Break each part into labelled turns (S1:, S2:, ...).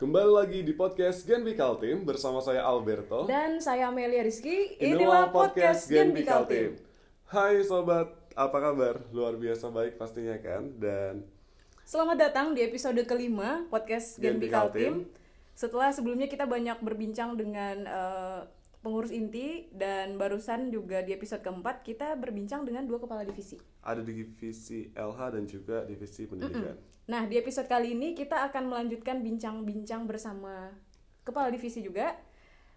S1: Kembali lagi di podcast Gen Bikal Team bersama saya Alberto.
S2: Dan saya Amelia Rizky. Inilah, podcast, Gen Bikal Team.
S1: Hai sobat, apa kabar? Luar biasa baik pastinya kan. Dan
S2: Selamat datang di episode kelima podcast Gen
S1: Gen
S2: Bikal
S1: Bikal Team.
S2: Team. Setelah sebelumnya kita banyak berbincang dengan eh, pengurus inti dan barusan juga di episode keempat kita berbincang dengan dua kepala divisi.
S1: ada di divisi LH dan juga divisi pendidikan.
S2: Nah, di episode kali ini kita akan melanjutkan bincang-bincang bersama kepala divisi juga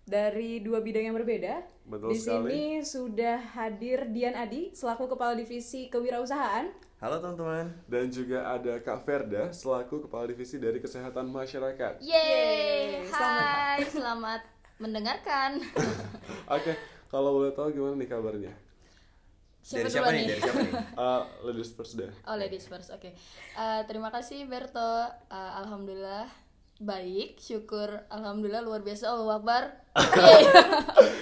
S2: dari dua bidang yang berbeda.
S1: Betul
S2: di sini sudah hadir Dian Adi selaku kepala divisi kewirausahaan
S3: Halo teman-teman.
S1: Dan juga ada Kak Verda selaku kepala divisi dari kesehatan masyarakat.
S2: Yeay,
S4: Yeay,
S2: selamat.
S4: hai, selamat mendengarkan.
S1: Oke, kalau boleh tahu gimana nih kabarnya?
S4: Siapa
S3: Dari
S4: duluan
S3: siapa nih? Dari siapa nih?
S1: Eh, ladies first deh.
S4: Oh, ladies first, oke. Eh, terima kasih Berto, Eh, alhamdulillah baik, syukur, alhamdulillah luar biasa, Allah Akbar.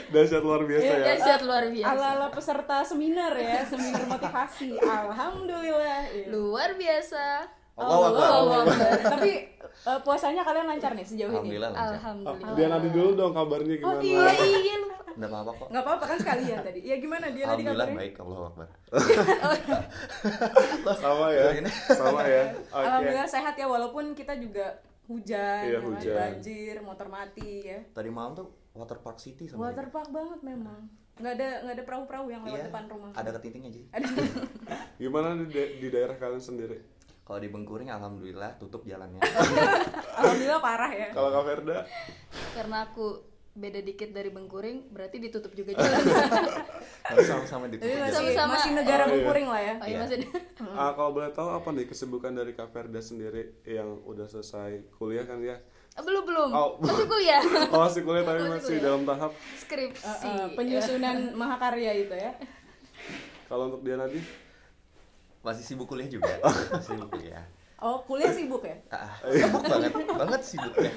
S1: Dahsyat luar
S2: Iya,
S1: biasa ya.
S4: Dahsyat luar biasa.
S2: ala-ala peserta seminar ya, seminar motivasi. Alhamdulillah. Iya.
S4: Luar biasa.
S3: Allahu Akbar.
S4: Allahu Akbar.
S2: Tapi eh, puasanya kalian lancar nih sejauh ini.
S3: Alhamdulillah lancar.
S1: Oh,
S4: Alhamdulillah.
S1: Dia nanti dulu dong kabarnya gimana?
S2: iya.
S4: Oh, iya, lupa.
S3: Enggak apa-apa kok.
S2: Nggak apa-apa kan sekalian tadi. Ya gimana dia tadi
S3: Alhamdulillah
S2: kabarnya?
S3: baik, Allahu Akbar.
S1: sama ya
S3: Ini.
S1: sama ya oke
S2: Alhamdulillah sehat ya walaupun kita juga hujan,
S1: Iya,
S2: ya kan,
S1: hujan.
S2: banjir, motor mati ya.
S3: Tadi malam tuh Waterpark City sama dia.
S2: Waterpark banget memang. Nggak ada nggak ada perahu-perahu yang lewat
S3: Iya,
S2: depan rumah.
S3: Ada ketinting aja.
S2: Ada.
S1: gimana di, da- di daerah kalian sendiri
S3: Kalau di Bengkuring alhamdulillah tutup jalannya.
S2: Alhamdulillah parah ya.
S1: kalau Kak Verda
S4: Karena aku beda dikit dari Bengkuring, berarti ditutup juga jalan.
S3: Tapi sama-sama ditutup
S2: Tapi
S3: jalan.
S2: masih,
S4: Sama-sama.
S2: masih
S1: Oh,
S2: negara
S1: iya.
S2: Bengkuring lah ya.
S4: oh, iya,
S3: Iya.
S4: maksudnya.
S1: ah, kalau boleh tahu apa nih kesibukan dari Kak Verda sendiri yang udah selesai kuliah kan ya
S4: Eh, Belum, belum.
S1: Oh.
S4: Masih kuliah.
S1: oh masih kuliah tapi
S4: Masih
S1: masih
S4: kuliah.
S1: dalam tahap
S4: Skripsi.
S2: Eh, eh, penyusunan mahakarya itu ya.
S1: kalau untuk dia nanti
S3: Masih sibuk kuliah juga. Masih sibuk kuliah.
S2: Oh, kuliah sibuk ya?
S3: Ah,
S1: Iya.
S3: sibuk banget, banget sibuknya.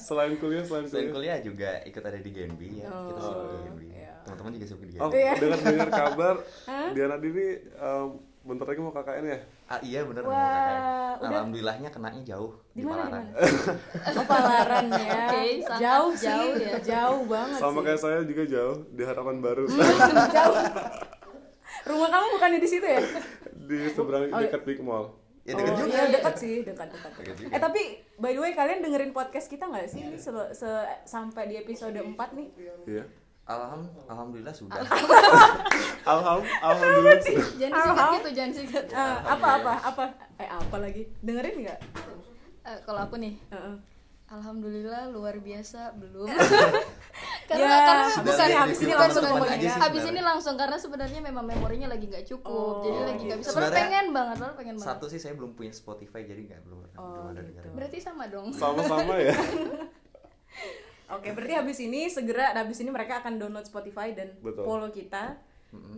S1: selain kuliah selain
S3: Selain
S1: kuliah,
S3: kuliah juga ikut ada di Genbi ya. Kita sibuk di
S2: Oh,
S3: Genbi.
S2: iya.
S3: Teman-teman juga sibuk di
S1: oh
S3: Genbi.
S2: Iya.
S1: dengar dengar kabar dia nanti ini em, bentar lagi mau KKN ya
S3: Ah iya bener
S2: Wah,
S3: mau KKN.
S2: udah.
S3: Alhamdulillahnya kenanya jauh
S2: Di mana, di
S3: Palaran.
S2: mana? Oh, Palaran ya.
S4: Oke, sangat
S2: jauh sih,
S4: jauh ya.
S2: jauh banget
S1: sama
S2: sih. Hmm.
S1: kayak saya juga jauh di harapan baru
S2: jauh. Rumah kamu bukannya di situ ya?
S1: di seberang
S2: Oh,
S1: dekat Big Mall
S3: Ya deket
S2: Oh,
S3: juga.
S2: iya, dekat sih, dekat dekat.
S3: Dekat juga.
S2: Eh tapi by the way kalian dengerin podcast kita nggak sih ini sel- se- sampai di episode 4 nih?
S1: iya
S3: Alham- alhamdulillah sudah.
S1: Alham, alhamdulillah
S4: jangan disikat
S2: Alham.
S4: gitu, jangan disikat.
S2: Eh, apa apa apa eh apa lagi? Dengerin nggak?
S4: Eh, kalau aku nih,
S2: Heeh.
S4: alhamdulillah luar biasa belum.
S2: Ya, sudah
S4: karena karena bukan
S2: lihat
S4: habis
S2: review
S4: ini langsung
S2: teman-teman
S4: pokoknya.
S2: aja sih
S4: habis
S3: sebenarnya.
S4: ini langsung karena sebenarnya memang memorinya lagi nggak cukup.
S2: Oh,
S4: jadi lagi nggak bisa. Padahal
S3: Sebenarnya-
S4: pengen banget, padahal pengen banget.
S3: Satu sih saya belum punya Spotify jadi nggak belum pernah
S2: Oh,
S3: belum ada
S2: gitu.
S3: dengerin.
S4: Berarti sama dong.
S1: sama-sama ya
S2: Oke, berarti habis ini segera habis ini mereka akan download Spotify dan
S1: Betul.
S2: follow kita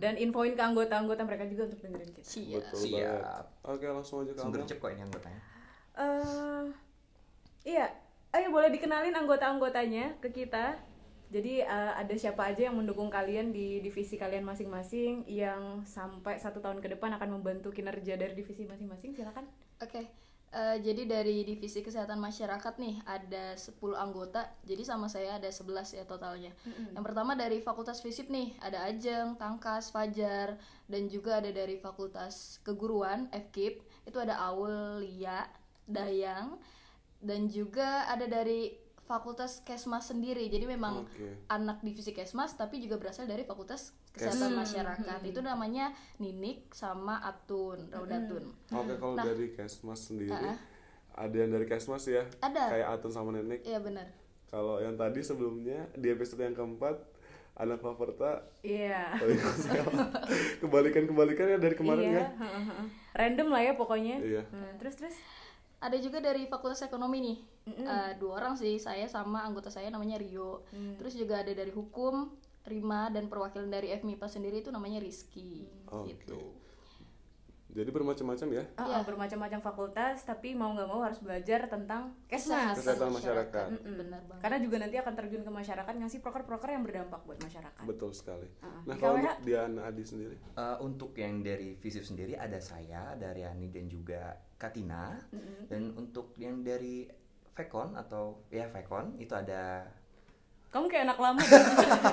S2: dan infoin ke anggota-anggota mereka juga untuk dengerin kita.
S4: Iya.
S1: Betul
S3: Siap.
S1: banget. Oke, langsung aja ke
S3: Sumber
S1: Amel.
S3: cep kok ini anggotanya.
S2: eh iya, ayo boleh dikenalin anggota-anggotanya ke kita. Jadi eh, ada siapa aja yang mendukung kalian di divisi kalian masing-masing yang sampai satu tahun ke depan akan membantu kinerja dari divisi masing-masing silakan.
S4: Oke. eh, jadi dari divisi kesehatan masyarakat nih ada 10 anggota. Jadi sama saya ada 11 ya totalnya. Yang pertama dari Fakultas Fisip nih ada Ajeng, Tangkas, Fajar dan juga ada dari Fakultas Keguruan FKIP itu ada Aul, Lia, Dayang dan juga ada dari Fakultas Kesmas sendiri. Jadi memang
S1: Oke.
S4: anak divisi Kesmas tapi juga berasal dari Fakultas Kesehatan Masyarakat. Itu namanya Ninik sama Atun, Raudatun.
S1: Oke, kalau dari Kesmas sendiri ada yang dari Kesmas ya?
S4: Ada.
S1: Kayak Atun sama Nenek.
S4: Iya benar.
S1: Kalau yang tadi sebelumnya di episode yang keempat anak Faverta
S2: Iya.
S1: kebalikan kebalikannya dari kemarin
S2: Iya.
S1: ya.
S2: heeh. Random lah ya pokoknya.
S1: Iya.
S2: Hmm, terus terus.
S4: Ada juga dari Fakultas Ekonomi nih. Eh, dua orang sih, saya sama anggota saya namanya Rio. Terus juga ada dari Hukum, Rima dan perwakilan dari FMIPA sendiri itu namanya Rizky
S1: Oke.
S4: gitu.
S1: Jadi bermacam-macam ya
S4: Iya.
S2: Ah, ah, bermacam-macam fakultas tapi mau nggak mau harus belajar tentang kesehatan
S1: kesehatan masyarakat.
S4: Benar banget.
S2: karena juga nanti akan terjun ke masyarakat ngasih proker-proker yang berdampak buat masyarakat
S1: Betul sekali.
S2: Ah,
S1: Nah
S2: di
S1: kalau
S2: KWH?
S1: untuk Diana Adi sendiri,
S3: Eh, untuk yang dari Visip sendiri ada saya, ada Riani dan juga Katina. Dan untuk yang dari Vekon atau ya Vekon itu ada
S2: kamu kayak anak lama deh.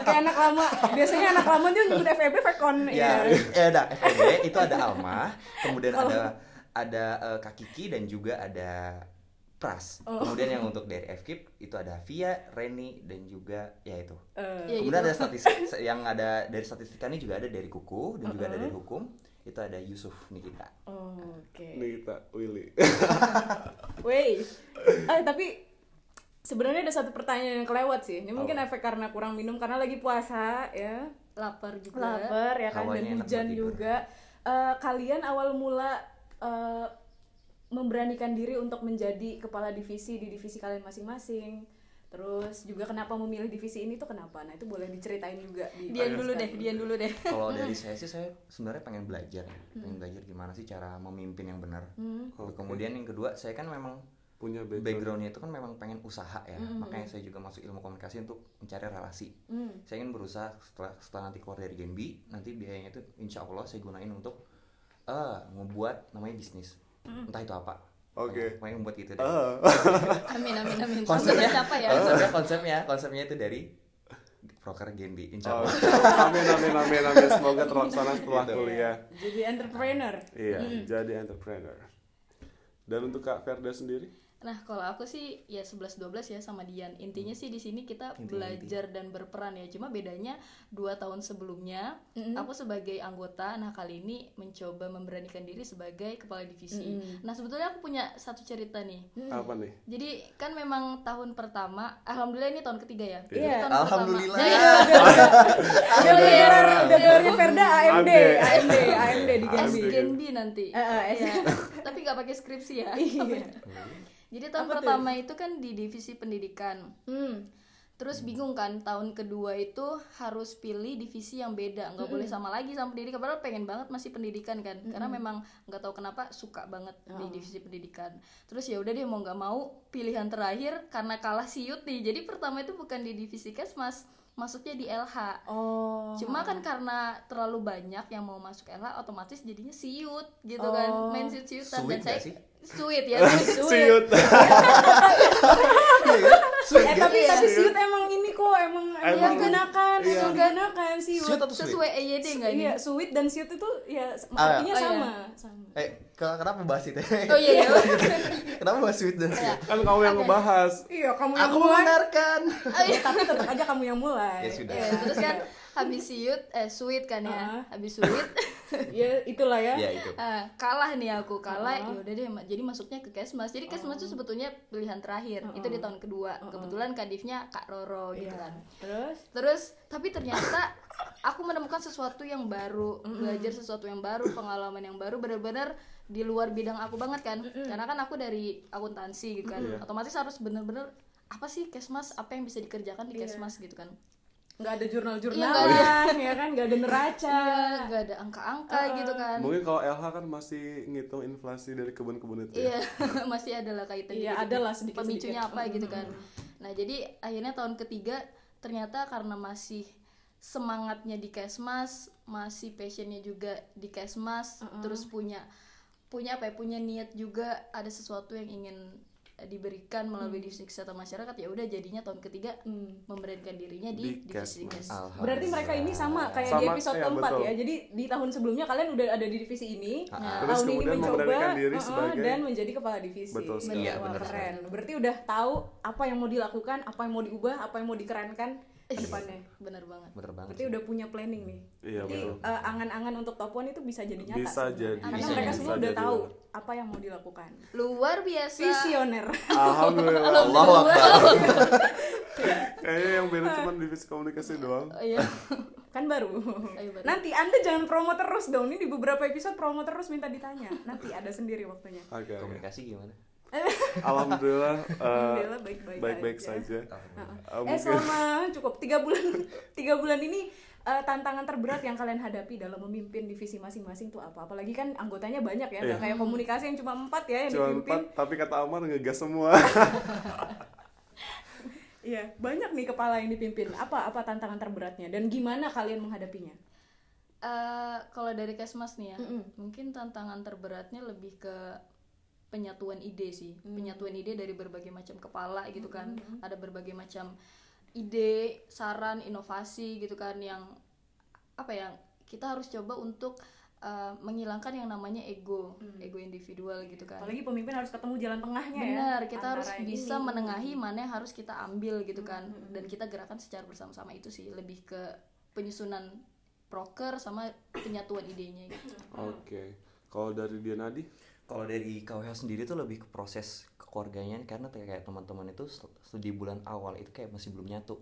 S2: kayak anak lama biasanya anak lama dia ngikut FEB Fekon
S3: ya
S2: Iya.
S3: eh ada FEB itu ada Alma, kemudian ada ada eh, Kak Kiki dan juga ada Pras.
S2: Oh.
S3: Kemudian yang untuk dari FKIP itu ada Via, Reni dan juga ya itu.
S2: Eh,
S4: Ya,
S3: Kemudian
S4: gitu.
S3: ada statistik yang ada dari statistikanya juga ada dari Kuku dan juga ada dari hukum. Itu ada Yusuf Nikita.
S2: oke
S1: Nikita Willy.
S2: Wey, eh tapi sebenarnya ada satu pertanyaan yang kelewat sih. Ini mungkin efek karena kurang minum karena lagi puasa ya,
S4: Lapar juga.
S2: lapar ya kan
S3: Hawanya
S2: dan
S3: enak buat
S2: hujan
S3: tidur.
S2: juga. Eh, kalian awal mula eh, memberanikan diri untuk menjadi kepala divisi di divisi kalian masing-masing. Terus juga kenapa memilih divisi ini tuh kenapa? Nah itu boleh diceritain juga. Di
S4: Dian dulu deh, Dian dulu deh.
S3: kalau dari saya sih saya sebenarnya pengen belajar ya. pengen belajar gimana sih cara memimpin yang benar
S2: Mm. Hmm.
S3: Lalu kemudian yang kedua saya kan memang
S1: Punya background.
S3: backgroundnya itu kan memang pengen usaha ya makanya saya juga masuk ilmu komunikasi untuk mencari relasi
S2: Hmm.
S3: saya ingin berusaha setelah setelah nanti keluar dari Genbi nanti biayanya itu insya Allah saya gunain untuk eh membuat namanya bisnis entah itu apa
S1: Oke. Ah,
S3: Pokoknya membuat gitu deh
S4: Amin amin amin. Sampai
S3: konsepnya
S4: tercapai ya.
S3: konsepnya konsepnya konsepnya itu dari proker Genbi insya
S1: Oh,
S3: Allah
S1: amin amin amin amin semoga terlaksana setelah kuliah.
S2: Jadi entrepreneur.
S1: Iya,
S2: Hmm.
S1: jadi entrepreneur. Dan untuk Kak Ferda sendiri?
S4: Nah, kalau aku sih ya 11 12 ya sama Dian. Intinya sih di sini kita belajar dan berperan ya. Cuma bedanya dua tahun sebelumnya aku sebagai anggota, nah kali ini mencoba memberanikan diri sebagai kepala divisi. Nah, sebetulnya aku punya satu cerita nih.
S2: Mm. Hmm.
S1: Apa nih?
S4: Jadi kan memang tahun pertama, alhamdulillah ini tahun ketiga ya.
S2: Iya.
S4: Tahun pertama.
S3: Alhamdulillah
S4: Jadi
S2: Udah gelar, udah gelarnya Verda AMD, AMD, AMD di
S1: AMD.
S2: Genbi.
S4: SGNB nanti.
S2: Eh, eh,
S4: Iya. Tapi nggak pakai skripsi ya. Jadi tahun
S2: Apa tuh?
S4: pertama itu kan di divisi pendidikan.
S2: Hmm.
S4: Terus bingung kan tahun kedua itu harus pilih divisi yang beda, nggak boleh sama lagi sama pendidikan. Padahal pengen banget masih pendidikan kan, karena memang nggak tahu kenapa suka banget di
S2: Ah.
S4: divisi pendidikan. Terus ya udah deh mau nggak mau pilihan terakhir karena kalah siut nih. Jadi pertama itu bukan di divisi kesmas, masuknya di LH.
S2: Oh.
S4: Cuma kan karena terlalu banyak yang mau masuk Ella otomatis jadinya siut gitu kan.
S2: Oh.
S4: Main siut-siutan dan
S3: Sweet
S4: saya
S3: nggak sih?
S4: sweet ya, sweet.
S1: Siut.
S2: Eh, tapi tapi siut emang ini kok emang emang
S1: Emang-
S2: digunakan,
S1: iya.
S2: emang digunakan siut.
S3: Siut atau sweet?
S4: Sesuai EYD nggak nih?
S2: Iya, suit dan siut itu ya s-
S3: Ah,
S2: artinya
S4: oh, iya.
S2: sama, sama.
S3: eh ke- kenapa bahas itu
S4: Oh iya iya.
S3: kenapa bahas sweet dan sweet?
S1: Kan kamu yang ngebahas.
S2: Iya, kamu yang
S3: Aku
S2: mulai.
S3: membenarkan.
S4: Oh, iya.
S2: Tapi tetap aja kamu yang mulai.
S3: Ya sudah.
S4: Iya, terus kan habis siut eh sweet kan
S2: Ah.
S4: ya. Habis sweet
S2: Ya itulah ya.
S3: Ya itu.
S4: eh, kalah nih aku, kalah. Ya udah deh ma- jadi masuknya ke Kesmas. Jadi Kesmas itu sebetulnya pilihan terakhir. Itu di tahun kedua. Kebetulan kadifnya Kak Roro gitu
S2: Iya.
S4: kan.
S2: Terus
S4: Terus tapi ternyata aku menemukan sesuatu yang baru, belajar sesuatu yang baru, pengalaman yang baru benar-benar di luar bidang aku banget kan. Karena kan aku dari akuntansi gitu kan. Otomatis harus benar-benar apa sih Kesmas, apa yang bisa dikerjakan di Kesmas gitu kan.
S2: nggak ada
S4: Iya, nggak
S2: jurnal-jurnalan, ya kan? Nggak ada neraca.
S4: Iya, nggak ada angka-angka gitu kan.
S1: Mungkin kalau LH kan masih ngitung inflasi dari kebun-kebun itu. ya?
S4: Iya, masih ada lah
S2: Gitu
S4: kaitan
S2: Iya,
S4: dikit-dikit.
S2: ada lah sedikit-sedikit.
S4: Pemicunya apa gitu kan. Nah, jadi akhirnya tahun ketiga ternyata karena masih semangatnya di Kesmas, masih passionnya juga di Kesmas, terus punya punya apa ya? Punya niat juga ada sesuatu yang ingin eh, diberikan melalui
S2: Mm.
S4: divisi kesehatan masyarakat ya udah jadinya tahun ketiga
S2: Hmm.
S4: memberanikan dirinya
S1: Di
S4: di,
S1: Kesmas.
S4: divisi Kes.
S3: Alhamdulillah.
S2: Berarti mereka ini sama kayak di
S1: Sama,
S2: episode
S1: iya,
S2: keempat
S1: betul.
S2: ya. Jadi di tahun sebelumnya kalian udah ada di divisi ini,
S1: Terus
S2: tahun ini
S1: kemudian
S2: mencoba
S1: memberanikan diri
S2: uh-uh,
S1: sebagai-
S2: dan menjadi kepala divisi.
S1: Betul sekali.
S4: Benar.
S3: Iya,
S2: Wah,
S3: benar
S2: keren. Berarti udah tahu apa yang mau dilakukan, apa yang mau diubah, apa yang mau dikerenkan ke
S4: Iya.
S2: depannya.
S4: Bener banget.
S3: Bener banget.
S2: Berarti udah punya planning nih.
S1: Iya,
S2: Berarti
S1: betul.
S2: eh, angan-angan untuk top one itu bisa jadi nyata.
S1: Bisa
S2: sebenarnya.
S1: jadi.
S2: Karena
S4: Bisa
S2: mereka
S4: jadi.
S2: semua
S1: Bisa
S2: udah
S1: jadi
S2: tahu
S1: banget.
S2: apa yang mau dilakukan.
S4: Luar biasa.
S2: Visioner.
S1: Alhamdulillah.
S3: Allahu Akbar.
S1: Kayaknya yang beda cuma divisi komunikasi doang.
S4: Oh, iya.
S2: kan baru.
S4: Ayo, Oh, iya, baru.
S2: Nanti Anda jangan promo terus dong. Ini di beberapa episode promo terus minta ditanya. Nanti ada sendiri waktunya.
S1: Oke, oke.
S3: Iya, Komunikasi gimana?
S1: Alhamdulillah eh,
S2: Alhamdulillah baik-baik
S1: baik-baik
S2: aja.
S1: saja.
S3: Alhamdulillah.
S1: Eh,
S2: eh
S1: mungkin-
S2: selama cukup tiga bulan tiga bulan ini eh, tantangan terberat yang kalian hadapi dalam memimpin divisi masing-masing tuh apa? Apalagi kan anggotanya banyak ya, nggak kayak komunikasi yang cuma empat ya yang
S1: Cuma
S2: dipimpin.
S1: empat, tapi kata Amar ngegas semua.
S2: Iya, banyak nih kepala yang dipimpin. Apa apa tantangan terberatnya dan gimana kalian menghadapinya?
S4: Eh, kalau dari Kesmas nih ya,
S2: Mm-mm.
S4: mungkin tantangan terberatnya lebih ke penyatuan ide sih,
S2: Hmm.
S4: penyatuan ide dari berbagai macam kepala gitu kan, ada berbagai macam ide, saran, inovasi gitu kan yang apa ya kita harus coba untuk eh, menghilangkan yang namanya ego, ego individual gitu kan.
S2: Hmm. Apalagi pemimpin harus ketemu jalan tengahnya ya.
S4: Benar, kita
S2: antara
S4: harus
S2: ini. Hmm,
S4: bisa menengahi mana yang harus kita ambil gitu kan dan kita gerakan secara bersama-sama itu sih lebih ke penyusunan proker sama penyatuan idenya gitu.
S1: Oke. Kalau dari dia Nadi?
S3: Kalau dari KWH sendiri tuh lebih ke proses kekeluarganya karena kayak teman-teman itu se- se- di bulan awal itu kayak masih belum nyatu